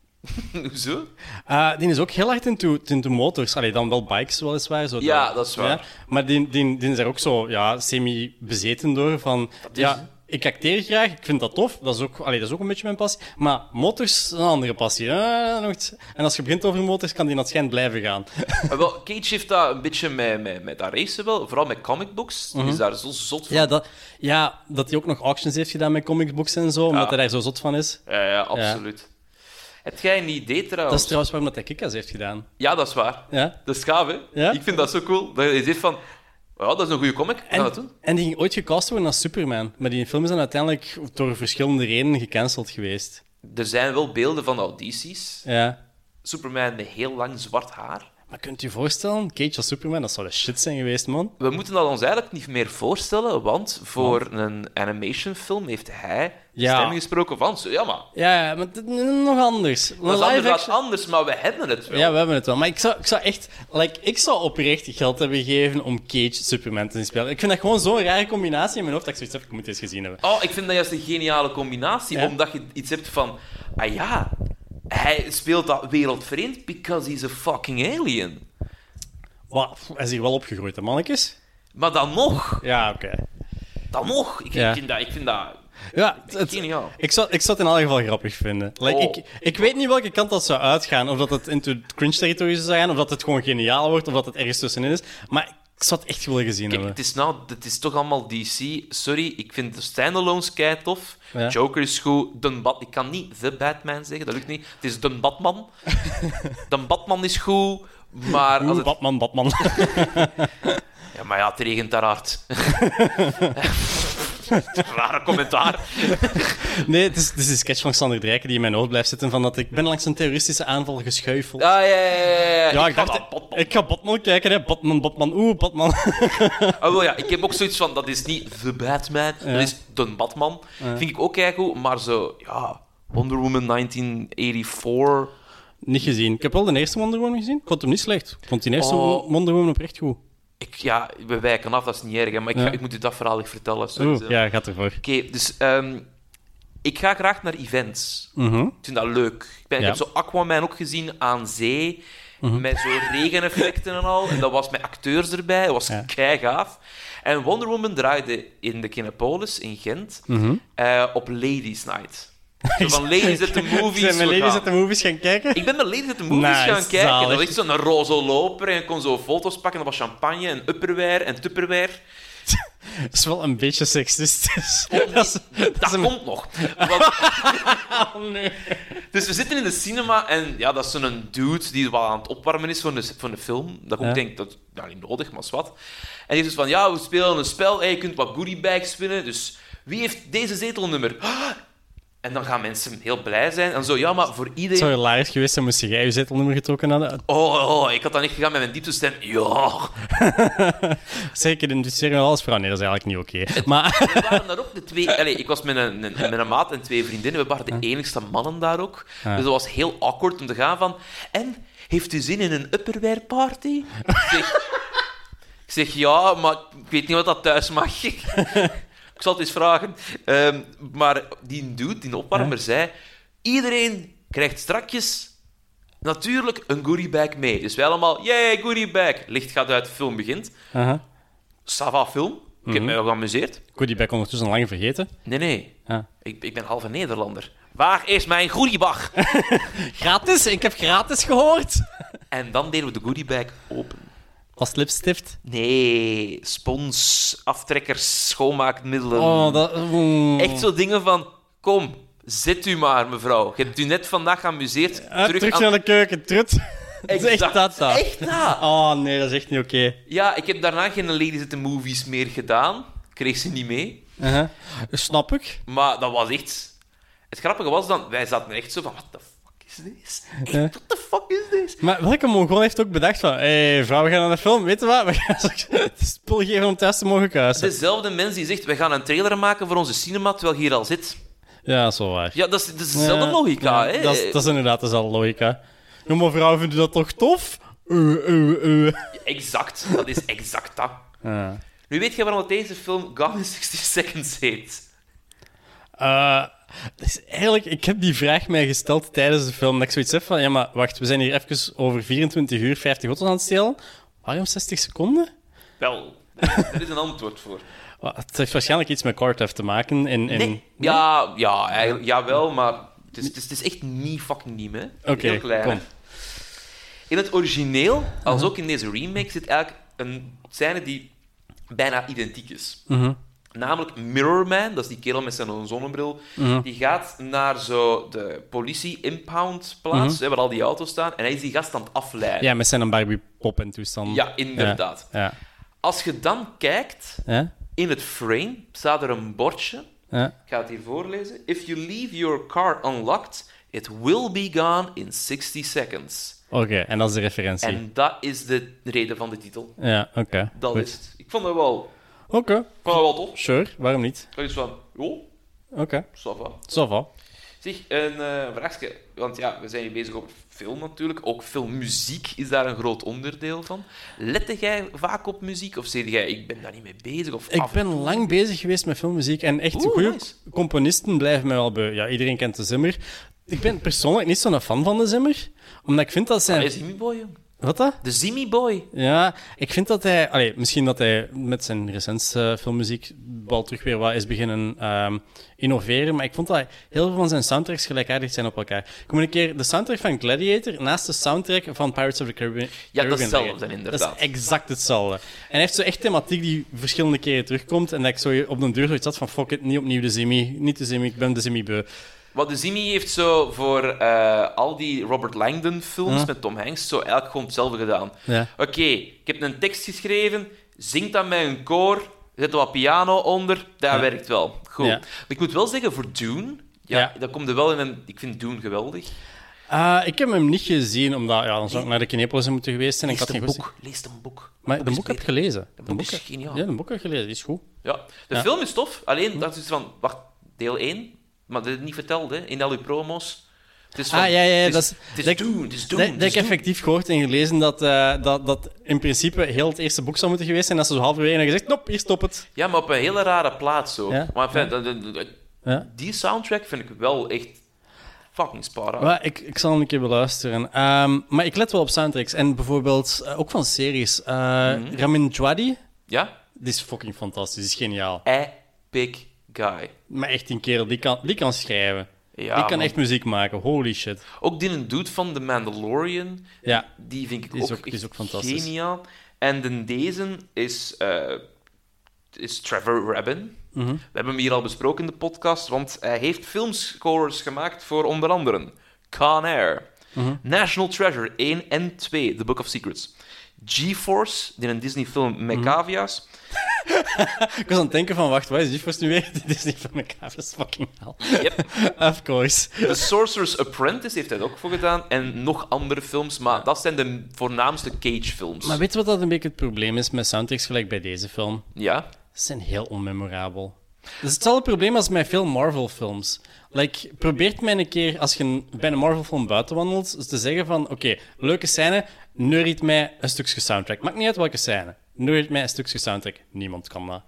D: *laughs* Hoezo?
C: Eh, die is ook heel hard into, into motors. Allee, dan wel bikes weliswaar. Zo
D: Ja,
C: de-
D: dat is waar.
C: Maar die, die, die is daar ook zo ja, semi-bezeten door. Van, ja, ik acteer graag, ik vind dat tof. Dat is, ook, allee, dat is ook een beetje mijn passie. Maar motors is een andere passie. Eh, nog iets. En als je begint over motors, kan die naar het schijn blijven gaan. *laughs*
D: Maar wel, Cage heeft dat een beetje met, met, met dat racen wel, vooral met comic books. Die is daar zo zot van.
C: Mhm. ja, dat, ja, dat hij ook nog auctions heeft gedaan met comic books en zo. Omdat
D: Ja.
C: hij daar zo zot van is.
D: Ja, ja, absoluut. Heb jij een idee
C: Dat
D: trouwens?
C: is trouwens waarom dat hij Kikas heeft gedaan.
D: Ja, dat is waar.
C: Ja.
D: Dat is gaaf, hè?
C: Ja.
D: Ik vind dat zo cool. Dat je zegt van, ja, dat is een goede comic. Gaan we dat doen?
C: en die ging ooit gecast worden als Superman. Maar die film is dan uiteindelijk door verschillende redenen gecanceld geweest.
D: Er zijn wel beelden van audities.
C: Ja.
D: Superman met heel lang zwart haar.
C: Maar kunt u voorstellen, Cage als Superman, dat zou de shit zijn geweest, man.
D: We moeten dat ons eigenlijk niet meer voorstellen, want voor een animationfilm heeft hij de
C: Ja.
D: stem gesproken van... zo, Ja, maar
C: Ja, ja, maar dit- nog anders. Een
D: dat is
C: live
D: inderdaad
C: action-
D: anders, maar we hebben het wel.
C: Ja, we hebben het wel. Maar ik zou, ik zou echt... Like, ik zou oprecht geld hebben gegeven om Cage Superman te spelen. Ik vind dat gewoon zo'n rare combinatie in mijn hoofd dat ik zoiets heb, ik moet eens gezien hebben.
D: Oh, ik vind dat juist een geniale combinatie,
C: Ja.
D: omdat je iets hebt van... Ah ja, hij speelt dat wereldvreemd because he's a fucking alien.
C: Wauw, hij is hier wel opgegroeid, hè, mannetjes.
D: Maar dan nog,
C: Ja, oké.
D: dan nog. Ik,
C: Ja.
D: ik vind dat... Ik vind dat
C: Ja, het- het-
D: Geniaal.
C: ik, zou, ik zou het in elk geval grappig vinden. Like,
D: Oh.
C: ik, ik weet niet welke kant dat zou uitgaan. Of dat het into cringe territory zou zijn, of dat het gewoon geniaal wordt, of dat het ergens tussenin is. Maar ik zou het echt willen gezien
D: Kijk,
C: hebben.
D: het is, nou, het is toch allemaal DC. Sorry, ik vind de standalones kei tof.
C: Ja.
D: Joker is goed. De Bat ik kan niet The Batman zeggen, dat lukt niet. Het is de
C: *laughs*
D: Batman. de Batman is goed, maar... Als
C: Oeh,
D: het...
C: Batman, Batman. *laughs*
D: Ja, maar ja, het regent daar hard. *laughs* Rare commentaar.
C: Nee, het is, het is die sketch van Sander Drijken die in mijn hoofd blijft zitten van dat ik ben langs een terroristische aanval geschuifeld.
D: Ja, ja, ja, ja.
C: Ja,
D: ja.
C: ik, dacht,
D: ga naar Batman.
C: ik ga Batman kijken, hè. Batman, Batman, oeh, Batman. *laughs*
D: Ah, wel, ja, ik heb ook zoiets van, dat is niet The Batman, dat is de Batman. Vind ik ook kei goed, maar zo, ja... Wonder Woman 1984...
C: niet gezien. Ik heb wel de eerste Wonder Woman gezien. Ik vond hem niet slecht. Ik vond die eerste
D: Oh.
C: Wonder Woman oprecht goed.
D: Ik, ja, we wijken af, dat is niet erg, hè, maar ik, ga-
C: Ja.
D: ik moet u dat verhaal echt vertellen. sorry.
C: Oeh, ja, gaat ervoor.
D: Oké, dus ehm, ik ga graag naar events.
C: *laughs*
D: Ik vind dat leuk. Ik, ben, ik
C: Ja. Mhm.
D: heb zo Aquaman ook gezien aan zee, met zo regeneffecten en al. En dat was met acteurs erbij, dat was
C: Ja.
D: kei gaaf. En Wonder Woman draaide in de Kinepolis in Gent
C: Mhm.
D: eh, op Ladies Night.
C: *laughs*
D: Zo van Ladies at the Movies.
C: Zijn mijn
D: we
C: ladies
D: gaan.
C: at the movies gaan kijken?
D: Ik ben met Ladies at the Movies
C: Nice,
D: gaan kijken.
C: zalig.
D: Dat was echt zo'n roze loper. En je kon zo foto's pakken. Dat was champagne en upperware en tupperware.
C: Dat is wel een beetje seksistisch. *laughs* dat is,
D: Dat,
C: is een-
D: komt nog. Want- *laughs*
C: Oh, nee.
D: dus we zitten in de cinema en ja, dat is zo'n dude die wel aan het opwarmen is voor de, voor de film. Dat ik
C: Ja.
D: ook denk, dat nou, niet nodig, maar zwart. En die is dus van, ja, we spelen een spel en je kunt wat goodie bags winnen. Dus wie heeft deze zetelnummer? *gasps* Ah! En dan gaan mensen heel blij zijn. En zo, ja, maar voor
C: Het
D: iedereen...
C: zou hilarisch geweest zijn moest jij je zetelnummer getrokken hadden.
D: Oh, oh, ik had dan echt gegaan met mijn diepste stem. Ja,
C: Zeker identificeren met alles vrouw. Nee, dat is eigenlijk niet oké. Maar
D: we waren daar ook de twee... Allee, ik was met een, een- met een maat en twee vriendinnen. We waren de enigste mannen daar ook. Dus dat was heel awkward om te gaan van... En, heeft u zin in een upperware party? Ik zeg, ik zeg ja, maar ik weet niet wat dat thuis mag. *laughs* ik zal het eens vragen. Ehm, maar die dude, die opwarmer, zei... Iedereen krijgt strakjes... Natuurlijk een goodie bag mee. Dus wij allemaal, yay, goodie bag. Licht gaat uit, film begint.
C: Aha.
D: Sava film. Ik heb mij wel geamuseerd.
C: Ik word die bek ondertussen al lang vergeten.
D: Nee, nee.
C: Ja.
D: Ik, ik ben halve Nederlander. Waar is mijn
C: *laughs*
D: goodiebag?
C: Gratis? Dus, Ik heb gratis gehoord.
D: en dan deden we de goodiebag open.
C: Als lipstift.
D: Nee, spons, aftrekkers, schoonmaakmiddelen.
C: Oh, dat... mm.
D: Echt zo dingen van, kom, zit u maar, mevrouw. Je hebt u net vandaag geamuseerd.
C: Ah, terug
D: aan-
C: naar de keuken, trut. *laughs* Dat is echt
D: Exact.
C: dat, dat.
D: Echt dat.
C: Oh nee, dat is echt niet oké.
D: Ja, ik heb daarna geen Ladies at the Movies meer gedaan. Ik Kreeg ze niet mee.
C: Uh-huh. Snap ik.
D: Maar dat was echt... Het grappige was dan, wij zaten echt zo van, what the fuck is this?
C: Ja.
D: What the fuck is this?
C: Maar welke Mongool heeft ook bedacht van... Hé, hey, vrouw, we gaan naar de film. Weet je wat? We gaan *laughs* ze spul geven om thuis te mogen kruisen.
D: Dezelfde mens die zegt, we gaan een trailer maken voor onze cinema, terwijl je hier al zit.
C: Ja, dat is wel waar.
D: Ja, dat is, dat is dezelfde
C: Ja,
D: logica,
C: ja,
D: hè?
C: Dat is, dat is inderdaad dezelfde logica. Ja, maar vrouwen vinden dat toch tof? Eh, eh, eh.
D: Exact. Dat is exact dat.
C: Ja.
D: Nu weet je waarom dat deze film Gone in 60 Seconds heet.
C: Eh, dus eigenlijk, ik heb die vraag mij gesteld tijdens de film. Dat ik zoiets heb van, ja, maar wacht, we zijn hier even over 24 uur 50 auto's aan het stelen. Waarom 60 seconden?
D: Wel, daar is een antwoord voor.
C: Wa- Het heeft waarschijnlijk iets met Cardiff te maken. En, en...
D: Nee. Ja, ja, eigenlijk, jawel, maar het is, het is, het is echt niet fucking nieuw, hè.
C: Oké,
D: Heel klein, hè.
C: kom.
D: In het origineel, als ook in deze remake, zit eigenlijk een scène die bijna identiek is.
C: Mhm.
D: Namelijk Mirror Man, dat is die kerel met zijn zonnebril,
C: Mhm.
D: die gaat naar zo de politie-impound plaats,
C: Mhm.
D: hè, waar al die auto's staan, en hij is die gast aan het afleiden.
C: Ja, met zijn Barbie pop en toestand.
D: Ja, inderdaad.
C: Ja.
D: Als je dan kijkt,
C: Ja?
D: in het frame staat er een bordje,
C: Ja?
D: ik ga het hier voorlezen. If you leave your car unlocked, it will be gone in 60 seconds.
C: Oké, en dat is de referentie.
D: En dat is de reden van de titel.
C: Ja, oké.
D: Dat
C: goed.
D: is het. Ik vond dat wel,
C: Oké,
D: ik vond dat wel tof.
C: sure, waarom niet?
D: Ik had iets van, oh,
C: Oké,
D: ça va.
C: ça va.
D: Zeg, een eh, vraagje. Want ja, we zijn hier bezig op film natuurlijk. Ook filmmuziek is daar een groot onderdeel van. Lette jij vaak op muziek? Of zeg jij, ik ben daar niet mee bezig? Of
C: Ik
D: af-
C: ben lang bezig geweest met filmmuziek en echt
D: Oeh,
C: goede
D: nice.
C: componisten blijven mij wel beu. Ja, iedereen kent de Zimmer. Ik ben persoonlijk niet zo'n fan van de Zimmer, omdat ik vind dat
D: Hij
C: zijn...
D: is Zimmy Boy, jong.
C: Wat dat?
D: De Zimmy Boy.
C: Ja, ik vind dat hij... Allee, misschien dat hij met zijn recentste filmmuziek wel terug weer wat is beginnen ehm, innoveren, maar ik vond dat heel veel van zijn soundtracks gelijkaardig zijn op elkaar. Ik moet een keer de soundtrack van Gladiator naast de soundtrack van Pirates of the Caribbean...
D: Ja, dat is
C: Caribbean
D: hetzelfde,
C: leggen. Dat
D: inderdaad.
C: is exact hetzelfde. En hij heeft zo echt thematiek die verschillende keren terugkomt en dat ik zo op den deur zoiets had van fuck it, niet opnieuw de Zimmy, niet de Zimmy, ik ben de Zimmy beu.
D: Wat de Zimmy heeft zo voor eh, al die Robert Langdon-films met Tom Hanks zo eigenlijk gewoon hetzelfde gedaan.
C: Ja.
D: Oké, ik heb een tekst geschreven, zing dat met een koor, zet er wat piano onder, dat
C: Ja.
D: werkt wel. Goed.
C: Ja.
D: Maar ik moet wel zeggen, voor Dune, ja,
C: Ja.
D: dat komt er wel in een... Ik vind Dune geweldig.
C: Ah, ik heb hem niet gezien, omdat ja, dan zou ik naar de Kinepolis moeten geweest zijn en ik
D: Lees
C: had
D: een
C: geen goed
D: boek. Lees een boek.
C: Maar de
D: is
C: boek heb ik
D: beter.
C: gelezen.
D: boek is geniaal.
C: Ja, de boek heb ik gelezen. Die is goed.
D: Ja. De
C: Ja.
D: film is tof, alleen dat is van... Wacht, deel 1? Maar dat is niet verteld, hè, in al uw promos. Het is van,
C: Ah, ja, ja,
D: het
C: dat
D: is,
C: is-
D: het is
C: dat-
D: Dune, het is Dune,
C: Dat,
D: het
C: dat ik
D: is Dune.
C: effectief gehoord en gelezen dat, eh, dat dat in principe heel het eerste boek zou moeten geweest zijn. Dat ze zo halverwege hebben gezegd, nop, hier stop het.
D: Ja, maar op een hele rare plaats ook.
C: Ja.
D: Maar enfin, dat- dat- dat-
C: Ja.
D: die soundtrack vind ik wel echt fucking spara.
C: Maar ik, ik zal hem een keer beluisteren. Ehm, maar ik let wel op soundtracks. En bijvoorbeeld eh, ook van series. Eh, Ramin Djawadi,
D: Ja?
C: die is fucking fantastisch. Die is geniaal.
D: Epic guy.
C: Maar echt een kerel, die kan, die kan schrijven.
D: Ja,
C: die kan
D: man.
C: echt muziek maken. Holy shit.
D: Ook die een dude van The Mandalorian,
C: Ja.
D: die vind ik
C: Die
D: ook,
C: is ook- die is
D: echt
C: ook fantastisch.
D: geniaal. En de deze is, eh, is Trevor Rabin.
C: Mhm.
D: We hebben hem hier al besproken in de podcast, want hij heeft filmscores gemaakt voor onder andere Con Air,
C: Mhm.
D: National Treasure 1 en 2, The Book of Secrets, G-Force, die een Disney-film
C: Mhm.
D: met cavia's,
C: Ik was aan het denken van, wacht, wat is die voor nu weer? *laughs* Dit is niet van elkaar. Dat is fucking hell.
D: Yep.
C: *laughs* of course.
D: The Sorcerer's Apprentice heeft hij er ook voor gedaan. En nog andere films, maar dat zijn de voornaamste Cage-films.
C: Maar weet je wat dat een beetje het probleem is met soundtracks gelijk bij deze film?
D: Ja.
C: Ze zijn heel onmemorabel. Dat is hetzelfde probleem als met veel Marvel-films. Like, probeert mij een keer, als je een- bij een Marvel-film buiten wandelt, te zeggen van, oké, leuke scène, neuriet mij een stukje soundtrack. Maakt niet uit welke scène. Neuriet mij een stukje soundtrack. Niemand kan dat.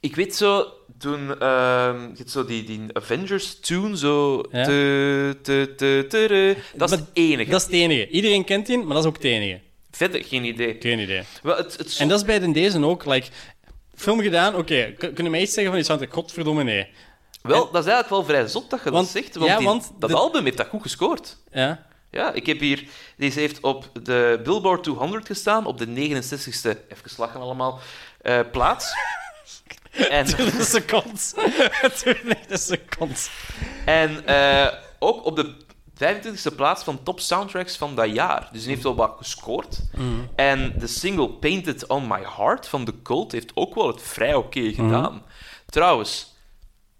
D: Ik weet zo, toen ehm, je hebt zo die, die Avengers-tune, zo...
C: Ja.
D: te- te- te- te- te- dat is
C: Maar
D: het enige.
C: Dat is het enige. Iedereen kent die, maar dat is ook het enige.
D: Verder, geen idee.
C: Geen idee.
D: Wel, het, het
C: En dat is bij de deze ook, like... Film gedaan, oké, k- kunnen mij iets zeggen van die soundtrack? Godverdomme, nee.
D: wel, dat is eigenlijk wel vrij zot dat je
C: Want-
D: dat zegt, want,
C: ja,
D: die-
C: want
D: dat
C: de-
D: album heeft dat goed gescoord.
C: Ja?
D: Ja, ik heb hier... Deze heeft op de Billboard 200 gestaan, op de 69ste... Even slagen allemaal. eh,
C: *laughs*
D: plaats. en...
C: Tweede seconde. Tweede seconde.
D: En eh, ook op de 25e plaats van top soundtracks van dat jaar. Dus die heeft wel wat gescoord.
C: Mm.
D: En de single Painted on My Heart van The Cult heeft ook wel het vrij
C: Mm.
D: oké gedaan. Trouwens,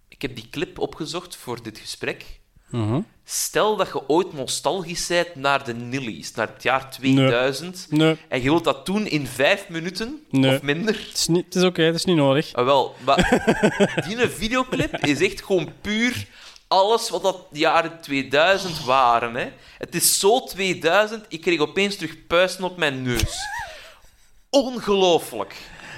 D: ik heb die clip opgezocht voor dit gesprek.
C: Mhm.
D: Stel dat je ooit nostalgisch bent naar de Nillies, naar het jaar 2000,
C: Nee,
D: en je wilt dat doen in vijf minuten
C: Nee.
D: of minder.
C: het is, niet- het is oké, het is niet nodig.
D: Ah, wel, maar *laughs* die videoclip is echt gewoon puur alles wat dat de jaren 2000 waren. Hè. Het is zo 2000, ik kreeg opeens terug puisten op mijn neus. Ongelooflijk.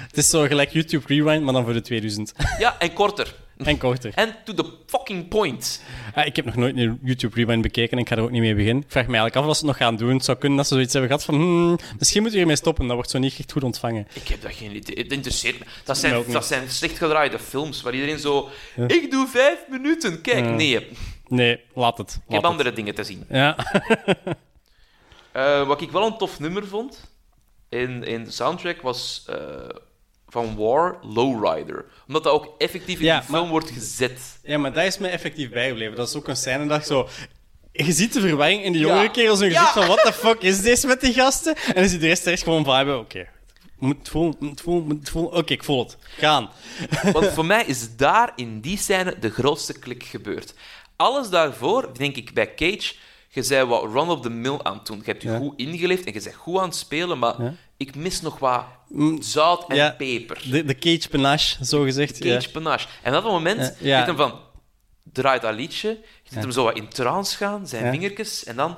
C: Het is zo gelijk YouTube Rewind, maar dan voor de 2000.
D: Ja, en korter.
C: en korter.
D: En to the fucking point.
C: Ah, ik heb nog nooit een YouTube Rewind bekeken en ik ga er ook niet mee beginnen. Ik vraag me eigenlijk af wat ze het nog gaan doen. Het zou kunnen dat ze zoiets hebben gehad van... hmm, misschien moeten we hiermee stoppen, dat wordt zo niet echt goed ontvangen.
D: Ik heb dat geen idee. Het interesseert me. Dat
C: Mij
D: zijn,
C: ook niet.
D: dat zijn slecht gedraaide films waar iedereen zo. Ik doe vijf minuten. Kijk, nee, ik
C: Nee, laat het. Laat
D: heb
C: het.
D: andere dingen te zien.
C: Ja.
D: Eh, wat ik wel een tof nummer vond in, in de soundtrack was eh, van War Lowrider. Omdat dat ook effectief in
C: Ja,
D: die film wordt gezet.
C: ja, maar dat is mij effectief bijgebleven. Dat is ook een scène dat ik zo... Je ziet de verwarring in de jongere
D: Ja.
C: kerels hun
D: Ja.
C: gezicht van... What the fuck is dit met die gasten? En dan zit de rest er echt gewoon van... Oké, moet het voelen, moet het voelen, moet het voelen. Oké, ik voel het. Gaan.
D: Want voor mij is daar in die scène de grootste klik gebeurd. Alles daarvoor, denk ik, bij Cage, je zei wat run of the mill aan het doen. Je hebt je
C: Ja.
D: goed ingeleefd en je bent goed aan het spelen, maar
C: Ja.
D: ik mis nog wat
C: Mm,
D: zout en
C: ja.
D: peper.
C: De, de cage panache, zo gezegd.
D: Cage panache. En op dat moment
C: Ja,
D: ja,
C: ja.
D: hem van... Draait dat liedje, je ziet hem zo wat in trance gaan, zijn
C: Ja.
D: vingertjes, en dan...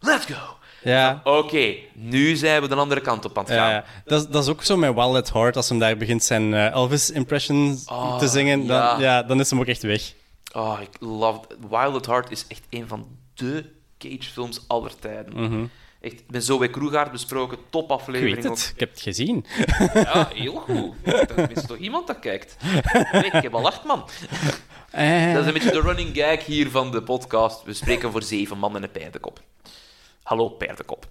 D: Let's go!
C: Ja.
D: Oké, nu zijn we de andere kant op aan het
C: Ja,
D: gaan.
C: ja. dat, is- dat is ook zo met Wild at Heart. Als hem daar begint zijn eh, Elvis-impression
D: Ah,
C: te zingen, dan, ja.
D: ja.
C: dan is hem ook echt weg.
D: Oh, ik love it. Wild at Heart is echt een van de Cage-films aller tijden. Echt, met Zoe Kroegaard besproken,
C: Mhm. Ik
D: topaflevering
C: weet het, ik heb het gezien.
D: ook. Ja, heel goed. Er is toch iemand dat kijkt? Nee, ik heb al acht man.
C: *laughs* Eh,
D: Dat is een beetje de running gag hier van de podcast. We spreken voor zeven man en een paardenkop. Hallo, paardenkop.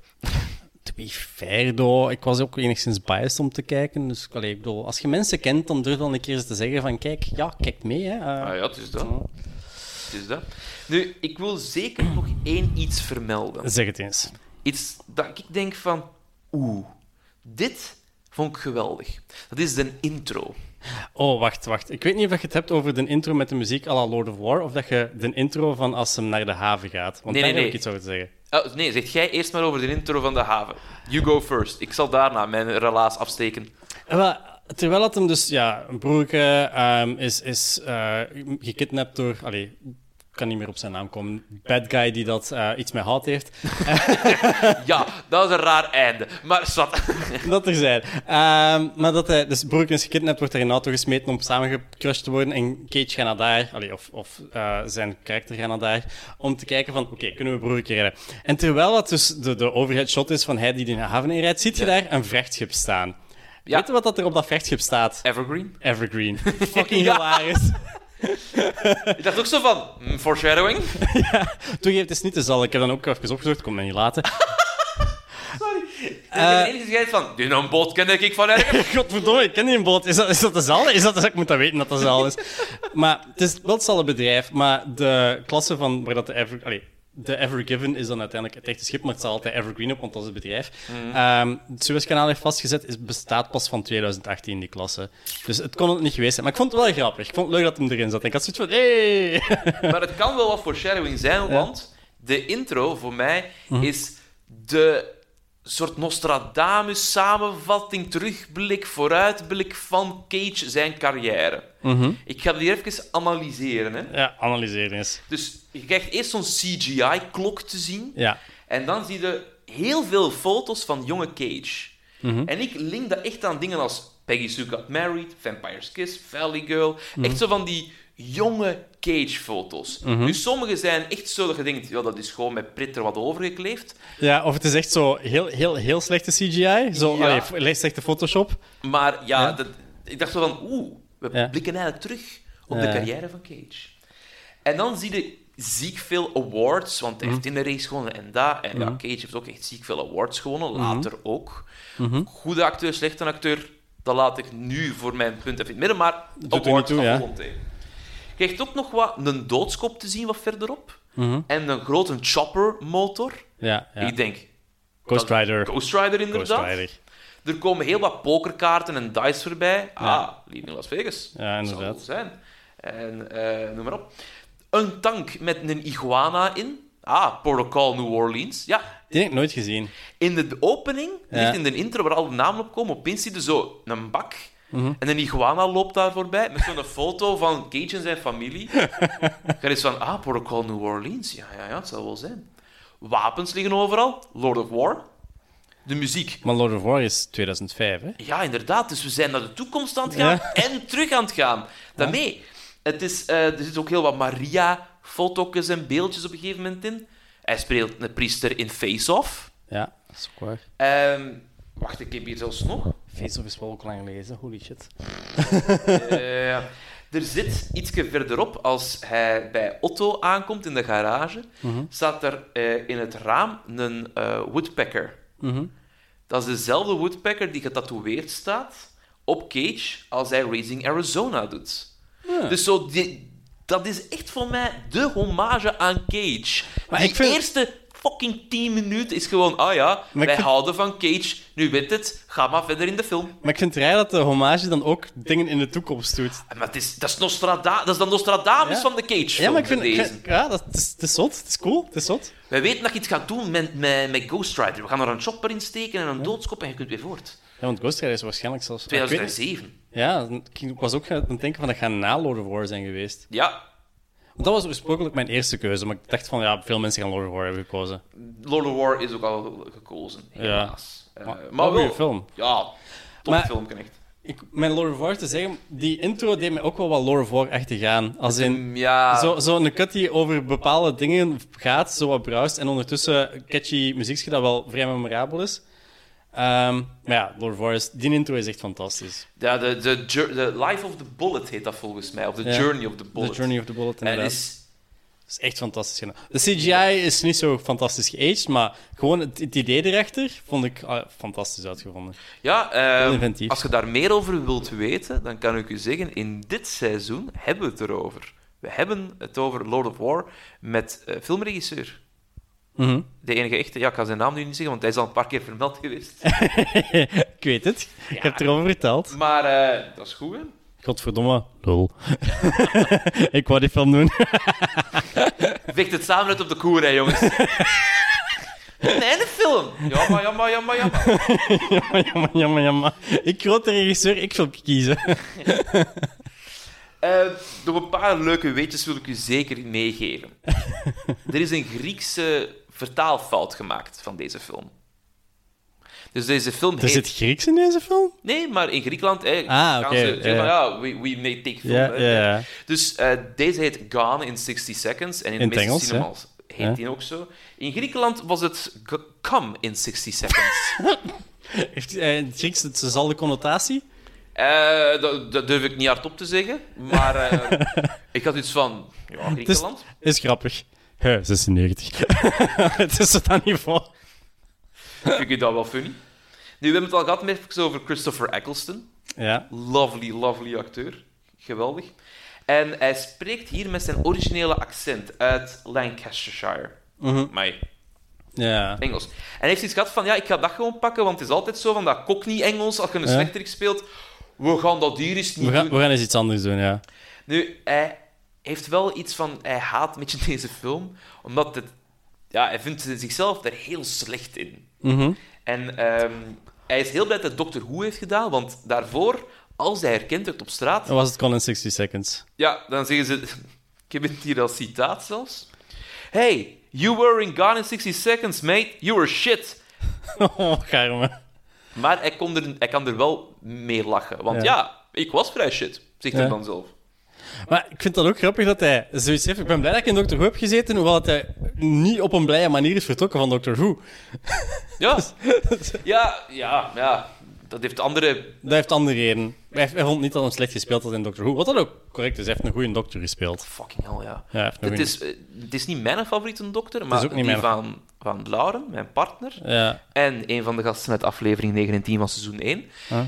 C: To be fair, though, ik was ook enigszins biased om te kijken. Dus allee, ik bedoel, als je mensen kent, dan durf dan een keer eens te zeggen van kijk, ja, kijk mee. Hè. Eh,
D: Ah ja, het is dat. Het is dat. Nu, ik wil zeker nog één iets vermelden.
C: Zeg het eens.
D: iets dat ik denk van... Oeh, dit vond ik geweldig. Dat is de intro.
C: Oh, wacht, wacht. Ik weet niet of dat je het hebt over de intro met de muziek à la Lord of War, of dat je de intro van als hem naar de haven gaat. Want
D: Nee,
C: daar
D: nee,
C: heb ik
D: nee.
C: iets over te zeggen.
D: Oh, nee, zeg jij eerst maar over de intro van de haven. You go first. Ik zal daarna mijn relaas afsteken.
C: Eh, Wel, terwijl dat hem dus, ja, een broerke ehm, is, is eh, gekidnapt door. Allee, ik kan niet meer op zijn naam komen. Bad guy die dat eh, iets met hout heeft.
D: Ja, dat is een raar einde. Maar zat.
C: dat er zijn. Ehm, maar dat hij, dus broerke is gekidnapt, wordt daar in een auto gesmeten om samengecrushed te worden. En Cage gaat naar daar, allee, of, of eh, zijn karakter gaat naar daar, om te kijken van, oké, kunnen we broerke redden? En terwijl dat dus de, de overhead shot is van hij die de haven inrijdt, ziet je daar een vrachtschip staan.
D: Ja.
C: Weet je wat dat er op dat vrachtschip staat?
D: Evergreen? *laughs*
C: Evergreen. Fucking
D: Ja.
C: hilarisch.
D: Ik dacht ook zo van... mm, foreshadowing?
C: Toegeef, het is niet te zal. Ik heb dan ook even opgezocht, komt mij niet later.
D: Sorry. Ik heb enige gezegd van... Die een bot ken ik van ergens.
C: *laughs* Godverdomme, ik ken die boot. Is dat, is dat de zal? Is dat, ik moet dat weten dat dat zal is. Maar het is wel hetzelfde bedrijf, maar de klasse van waar dat de Ever... Allee, de Evergiven is dan uiteindelijk het echte schip, maar het staat altijd Evergreen op, want dat is het bedrijf. Ehm, het Suezkanaal heeft vastgezet, is, bestaat pas van 2018, die klasse. Dus het kon het niet geweest zijn. Maar ik vond het wel grappig. Ik vond het leuk dat hem erin zat. En ik had zoiets van, hey! *laughs*
D: Maar het kan wel wat foreshadowing zijn, want de intro voor mij is de soort Nostradamus-samenvatting, terugblik, vooruitblik van Cage zijn carrière. Ik ga die hier even analyseren. Hè.
C: ja, analyseer eens.
D: Dus je krijgt eerst zo'n CGI-klok te zien,
C: Ja.
D: en dan zie je heel veel foto's van jonge Cage. En ik link dat echt aan dingen als Peggy Sue Got Married, Vampire's Kiss, Valley Girl. Echt zo van die jonge Cage-foto's. Nu, sommige zijn echt zo dat je denkt, ja, dat is gewoon met prit er wat overgekleefd.
C: Ja, of het is echt zo heel, heel, heel slechte CGI. Zo,
D: Ja.
C: allee, f- heel slechte Photoshop.
D: Maar ja, dat, ik dacht zo van, oeh, we
C: Ja.
D: blikken eigenlijk terug op
C: Ja.
D: de carrière van Cage. En dan zie je ziek veel awards, want hij
C: Mhm.
D: heeft in de race gewonnen en daar. En ja, Cage heeft ook echt ziek veel awards gewonnen,
C: Mhm.
D: later ook. Goede acteur, slechte acteur, dat laat ik nu voor mijn punt even in het midden, maar
C: er niet
D: awards
C: toe,
D: van
C: ja.
D: gewoon tegen. Je krijgt ook nog wat een doodskop te zien wat verderop. En een grote chopper-motor.
C: Mhm. Ja, ja.
D: Ik denk,
C: Ghost Rider.
D: Ghost Rider inderdaad.
C: Ghost Rider.
D: Er komen heel wat pokerkaarten en dice voorbij. Ah, Leaving Las Vegas.
C: Ja, inderdaad.
D: Zal wel zijn. En eh, noem maar op. Een tank met een iguana in. Ah, Protocol New Orleans. Ja,
C: Die heb ik nooit gezien.
D: in de opening,
C: Ja.
D: ligt in de intro waar al de namen op komen, op pins zit er zo een bak.
C: Mhm.
D: En een iguana loopt daar voorbij met zo'n *laughs* foto van Cage en zijn
C: *laughs*
D: familie. Er is van, ah, Protocol New Orleans. Ja, ja, ja, het zal wel zijn. Wapens liggen overal. Lord of War. De muziek.
C: Maar Lord of War is 2005, hè?
D: Ja, inderdaad. Dus we zijn naar de toekomst aan het gaan
C: Ja.
D: en terug aan het gaan. Daarmee, het is, eh, er zit ook heel wat Maria-fotokjes en beeldjes op een gegeven moment in. Hij speelt een priester in Face Off.
C: Ja, dat is ook waar.
D: Ehm, wacht, ik heb hier zelfs nog.
C: Face-Off is wel ook lang lezen, holy shit.
D: Eh, er zit ietsje verderop, als hij bij Otto aankomt in de garage,
C: Mhm.
D: staat er eh, in het raam een eh, woodpecker.
C: Mhm.
D: Dat is dezelfde woodpecker die getatoeëerd staat op Cage als hij Raising Arizona doet. Dus zo die- dat is echt voor mij de hommage aan Cage.
C: Maar
D: Die
C: ik vind-
D: eerste fucking 10 minuten is gewoon, ah ja,
C: ik
D: wij
C: vind-
D: houden van Cage, nu weet het, ga maar verder in de film.
C: Maar ik vind het raar dat de hommage dan ook dingen in de toekomst doet.
D: Ah, Maar het is, dat, is Nostrada, dat is dan Nostradamus
C: Ja.
D: van de Cage.
C: Ja, maar ik vind... ik
D: deze.
C: vind- ja, dat het is, het is zot. Het is cool. Het is zot.
D: Wij weten dat je iets gaat doen met, met, met Ghost Rider. We gaan er een chopper in steken en een doodskop en je kunt weer voort.
C: Ja, want Ghost Rider is waarschijnlijk zelfs... ik Ah, weet niet.
D: 2007.
C: Ja, ik was ook aan het denken van dat gaat na Lord of War zijn geweest.
D: Ja,
C: Want dat was oorspronkelijk mijn eerste keuze, maar ik dacht van ja, veel mensen gaan Lord of War hebben gekozen.
D: Lord of War is ook al gekozen, helaas. Eh,
C: Maar-
D: maar
C: wel een
D: wel-
C: goeie film.
D: Ja, top
C: Maar-
D: film, echt.
C: Ik, mijn Lord of War te zeggen, die intro deed me ook wel wat Lord of War echt te gaan. Als in,
D: Mm, Ja,
C: zo- zo'n cut die over bepaalde dingen gaat, zo wat bruist, en ondertussen catchy muziekje dat wel vrij memorabel is. Ehm, maar ja, Lord of War, is, die intro is echt fantastisch.
D: ja de, de, jour- de Life of the Bullet heet dat volgens mij. Of The
C: Ja.
D: Journey of the Bullet.
C: The Journey of the Bullet,
D: En
C: inderdaad.
D: het is
C: Dat is echt fantastisch gedaan. De CGI is niet zo fantastisch geaged, maar gewoon het, het idee erachter vond ik ah, fantastisch uitgevonden.
D: Ja, ehm,
C: Heel inventief.
D: als je daar meer over wilt weten, dan kan ik u zeggen, in dit seizoen hebben we het erover. We hebben het over Lord of War met eh, filmregisseur.
C: Mhm.
D: De enige echte, ja, ik kan zijn naam nu niet zeggen, want hij is al een paar keer vermeld geweest.
C: ik weet het. Ik heb het erover verteld.
D: *laughs* Maar eh, dat is goed, hè?
C: Godverdomme. Lul. *laughs* ik wou die film doen. *laughs*
D: Vecht het samen uit op de koer, hè, *laughs* jongens. Nee, de film. Jammer, jammer, jammer, jammer.
C: jammer, jammer, jammer, jammer. Ik grote regisseur, ik wil kiezen.
D: Eh nog een paar leuke weetjes wil ik u zeker
C: *laughs*
D: meegeven. er is een Griekse vertaalfout gemaakt van deze film. Dus deze film
C: Er
D: heet...
C: zit Grieks in deze film?
D: Nee, maar in Griekenland eh,
C: Ah,
D: gaan
C: oké,
D: ze zeggen van,
C: ja.
D: ja, we, we may take film.
C: Ja,
D: hè.
C: ja, ja.
D: Dus eh, deze heet Gone in 60 Seconds. En in,
C: In
D: de
C: het
D: meeste
C: Engels, hè?
D: cinemas heet
C: Ja.
D: die ook zo. In Griekenland was het g- Come in 60
C: *laughs*
D: Seconds.
C: Heeft eh, in het Grieks het- dezelfde connotatie?
D: Eh, dat, dat durf ik niet hardop te zeggen, maar
C: *laughs*
D: eh, ik had iets van ja,
C: Het is,
D: Griekenland.
C: is grappig. Hè, 96. *laughs* het is het dan niet voor.
D: Vind je dat wel funny? Nu, we hebben het al gehad met over Christopher Eccleston.
C: Ja.
D: Lovely, lovely acteur. Geweldig. En hij spreekt hier met zijn originele accent uit Lancashire. Maar
C: Ja.
D: Engels. En hij heeft iets gehad van, ja, ik ga dat gewoon pakken, want het is altijd zo van dat Cockney-Engels, als je een
C: Ja.
D: slechterik speelt, we gaan dat hier eens niet
C: We gaan,
D: doen.
C: we gaan eens iets anders doen, ja.
D: Nu, hij heeft wel iets van... Hij haat een beetje *laughs* deze film, omdat het... Ja, hij vindt zichzelf er heel slecht in. En ehm, hij is heel blij dat Doctor Who heeft gedaan, want daarvoor, als hij herkend werd op straat...
C: Dan was het Colin 60 Seconds. *laughs*
D: Ja, dan zeggen ze... *laughs* Ik heb het hier als citaat zelfs. Hey, you were in Gone in 60 Seconds, mate. You were shit.
C: Oh, garme.
D: Maar hij, kon er, hij kan er wel mee lachen. Want ja,
C: Ja.
D: ik was vrij shit, zegt
C: Ja.
D: hij dan zelf.
C: Maar ik vind dat ook grappig dat hij zoiets heeft. Ik ben blij dat ik in Doctor Who heb gezeten, hoewel dat hij niet op een blije manier is vertrokken van Doctor Who. *laughs*
D: Ja. ja, ja, ja. Dat heeft andere...
C: Dat heeft andere reden. Hij, hij vond niet dat hij slecht gespeeld had in Doctor Who. Wat dat ook correct is, hij heeft een goede dokter gespeeld.
D: Fucking hell, ja.
C: Ja, hij heeft een
D: Het
C: goeie-
D: is, eh, het is niet mijn favoriete dokter, maar
C: ook niet
D: die
C: mijn-
D: van, van Lauren, mijn partner,
C: Ja.
D: en een van de gasten uit aflevering 9 en 10 van seizoen 1.
C: Huh?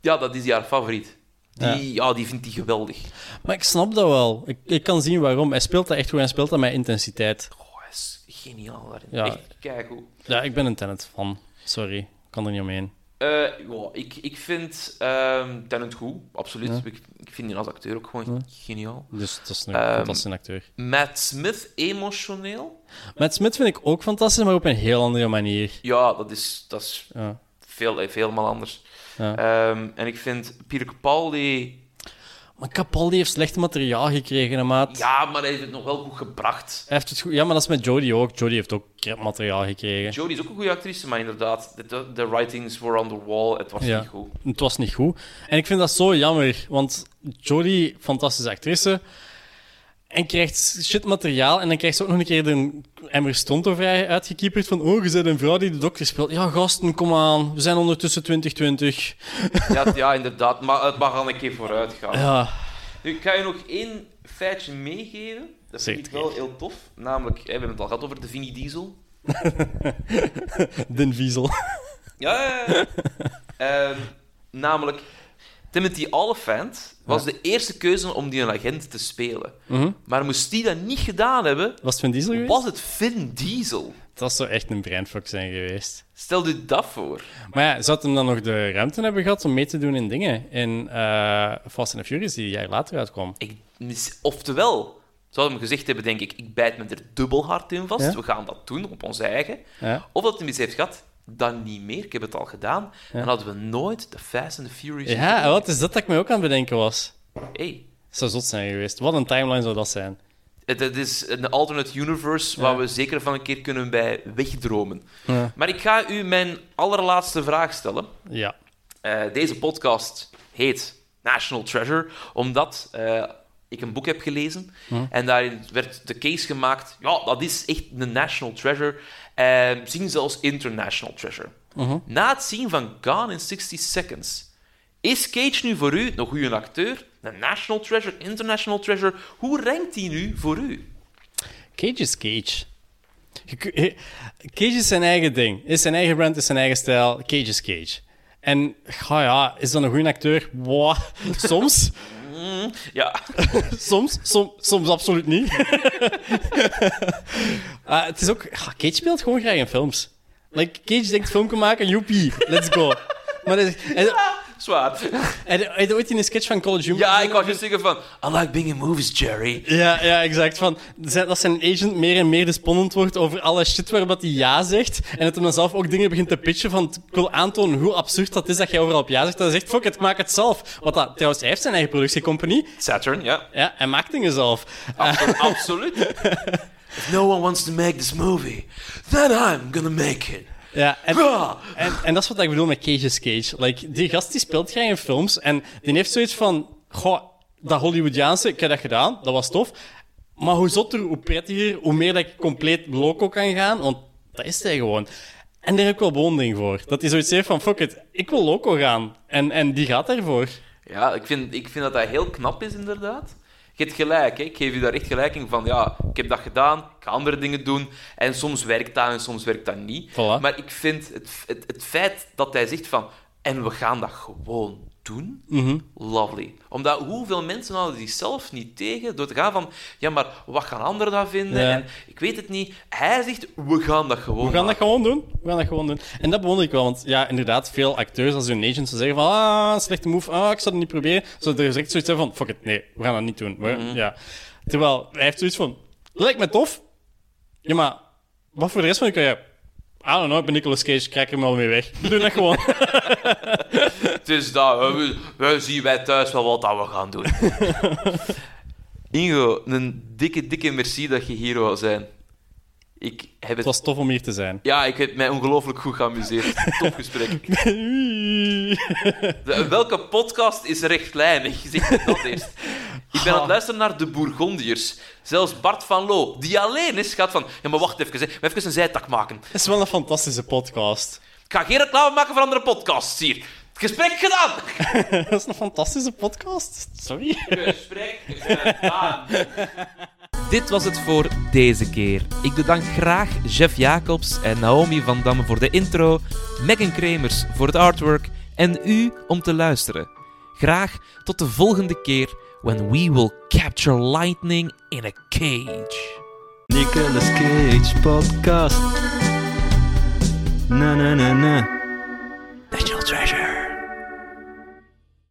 D: Ja, dat is haar favoriet. Die, ja. die vindt die geweldig.
C: Maar ik snap dat wel. Ik, ik kan zien waarom. Hij speelt dat echt goed en hij speelt dat met intensiteit.
D: Oh, hij is geniaal daarin.
C: Ja.
D: Echt keigoed.
C: Ja, ik ben een tenant van. Sorry, ik kan er niet omheen.
D: Eh, ja, ik, ik vind ehm Tennant goed, absoluut. Ik, ik vind die als acteur ook gewoon geniaal.
C: Dus dat is een
D: Ehm,
C: fantastische acteur.
D: Matt Smith emotioneel.
C: Matt Smith vind ik ook fantastisch, maar op een heel andere manier.
D: Ja, dat is, dat is
C: Ja.
D: veel, eh, helemaal anders.
C: Ja.
D: Ehm, en ik vind Peter Capaldi...
C: Maar Capaldi heeft slecht materiaal gekregen, hè, maat.
D: Ja, maar hij heeft het nog wel goed gebracht.
C: Hij heeft het goed... Ja, maar dat is met Jodie ook. Jodie heeft ook crap materiaal gekregen.
D: Jodie is ook een goede actrice, maar inderdaad, de- de, de writings were on the wall. Het was
C: Ja.
D: niet goed.
C: Het was niet goed. En ik vind dat zo jammer, want Jodie, fantastische actrice, en krijgt shit materiaal. En dan krijgt ze ook nog een keer een Emmer Stonto vrij uitgekieperd van oh, je bent een vrouw die de dokter speelt. Ja, gasten, kom aan. We zijn ondertussen 2020.
D: Ja, t- ja, inderdaad, maar het mag al een keer vooruit gaan.
C: Ja,
D: Nu, ik ga je nog één feitje meegeven. Dat
C: Zeg
D: vind ik
C: het
D: wel heel tof. Namelijk, hè, we hebben het al gehad over de Vinnie Diesel.
C: Den Wiesel.
D: Ja, ja,
C: *laughs*
D: ja. Ehm, namelijk, Timothy Oliphant was de eerste keuze om die een agent te spelen.
C: Mhm.
D: Maar moest die dat niet gedaan hebben,
C: Was het Van Diesel geweest?
D: was het Vin Diesel.
C: Dat zou echt een brainfuck zijn geweest.
D: Stel je dat voor.
C: Maar ja, zou het hem dan nog de ruimte hebben gehad om mee te doen in dingen? In eh, Fast and the Furious, die een jaar later uitkwam.
D: Ik, mis- oftewel, ze hadden hem gezegd hebben, denk ik, ik bijt me er dubbel hard in vast.
C: Ja.
D: We gaan dat doen op ons eigen.
C: Ja.
D: Of dat hij iets heeft gehad, dan niet meer. Ik heb het al gedaan. Dan hadden we nooit de Fast and the Furious.
C: Ja, wat is dat dat ik me ook aan het bedenken was?
D: Hey,
C: Het zou zot zijn geweest. Wat een timeline zou dat zijn?
D: het, het is een alternate universe waar we zeker van een keer kunnen bij wegdromen.
C: Ja.
D: Maar ik ga u mijn allerlaatste vraag stellen.
C: Ja.
D: Eh, deze podcast heet National Treasure, omdat eh, ik een boek heb gelezen. En daarin werd de case gemaakt, ja, dat is echt een national treasure. Eh, zien zelfs international treasure. Na het zien van Gone in 60 Seconds, is Cage nu voor u, nog u een acteur, een national treasure, international treasure, hoe rankt die nu voor u?
C: Cage is Cage. Je ku- he- Cage is zijn eigen ding. Is zijn eigen brand, is zijn eigen stijl. Cage is Cage. En ga ja, is dat een goede acteur? Wow. *laughs* Soms,
D: Ja, *laughs*
C: soms, som- soms absoluut niet. *laughs* Eh, het is ook, ah, Cage speelt gewoon graag in films. Like, Cage denkt filmpje maken, joepie, let's go. Maar hij zegt- hij-
D: zwaar.
C: hij- hij had ooit in een sketch van College Humor.
D: Ja, ik was juist zeggen van, I like being in movies, Jerry.
C: Ja, ja, exact. Van, zijn- dat zijn agent meer en meer despondent wordt over alle shit waar wat hij ja zegt. En dat hij dan zelf ook dingen begint te pitchen van ik wil aantonen hoe absurd dat is dat jij overal op ja zegt. Dat hij zegt, fuck it, maak het zelf. Wat dat, trouwens, hij heeft zijn eigen productiecompagnie.
D: Saturn, ja.
C: Ja, hij maakt dingen zelf.
D: Abso- absoluut. If no one wants to make this movie, then I'm gonna make it.
C: Ja, en,
D: Ah.
C: en, en dat is wat ik bedoel met Cage's Cage. Like, die gast die speelt graag in films en die heeft zoiets van... Goh, dat Hollywoodiaanse, ik heb dat gedaan, dat was tof. Maar hoe zotter, hoe prettiger, hoe meer dat ik compleet loco kan gaan, want dat is hij gewoon. En daar heb ik wel bewondering voor. Dat hij zoiets heeft van, fuck it, ik wil loco gaan. En, en die gaat daarvoor.
D: Ja, ik vind, ik vind dat dat heel knap is, inderdaad. Je hebt gelijk, hè. ik geef je daar echt gelijk in van, ja, ik heb dat gedaan, ik ga andere dingen doen, en soms werkt dat en soms werkt dat niet.
C: Voilà.
D: Maar ik vind het, het, het feit dat hij zegt van, en we gaan dat gewoon doen,
C: Mhm.
D: lovely. Omdat hoeveel mensen houden die zelf niet tegen door te gaan van, ja, maar wat gaan anderen daar vinden?
C: Ja.
D: En ik weet het niet. Hij zegt, we gaan dat gewoon
C: We gaan
D: maken.
C: dat gewoon doen. We gaan dat gewoon doen. En dat bewonder ik wel, want ja, inderdaad, veel acteurs als hun agents zo zeggen van ah, slechte move, ah, ik zal het niet proberen. Zodat er direct zoiets hebben van, fuck it, nee, we gaan dat niet doen. We- ja. Terwijl, hij heeft zoiets van, lijkt me tof. Ja, maar wat voor de rest van je carrière? I don't know, ik ben Nicolas Cage, ik krijg er wel mee weg. We doen dat gewoon.
D: Het is dat, hè. we, we zien wij thuis wel wat dat we gaan doen. Ingo, een dikke, dikke merci dat je hier wou zijn. Ik heb het...
C: Het was tof om hier te zijn.
D: Ja, ik heb mij ongelooflijk goed geamuseerd. Top gesprek. De- welke podcast is rechtlijnig? Zeg me dat eerst. Ik ben aan het luisteren naar de Bourgondiërs. Zelfs Bart van Loo, die alleen is, gaat van... Ja, maar wacht even, hè. Maar even een zijtak maken.
C: Het is wel een fantastische podcast.
D: Ik ga geen reclame maken voor andere podcasts hier. Het gesprek gedaan!
C: Dat is een fantastische podcast. Sorry.
D: Gesprek
B: *laughs*
D: gedaan.
B: Dit was het voor deze keer. Ik bedank graag Jeff Jacobs en Naomi van Damme voor de intro, Megan Kremers voor het artwork en u om te luisteren. Graag tot de volgende keer when we will capture lightning in a cage.
A: Nicolas Cage podcast. Na na na na.
D: National
A: treasure.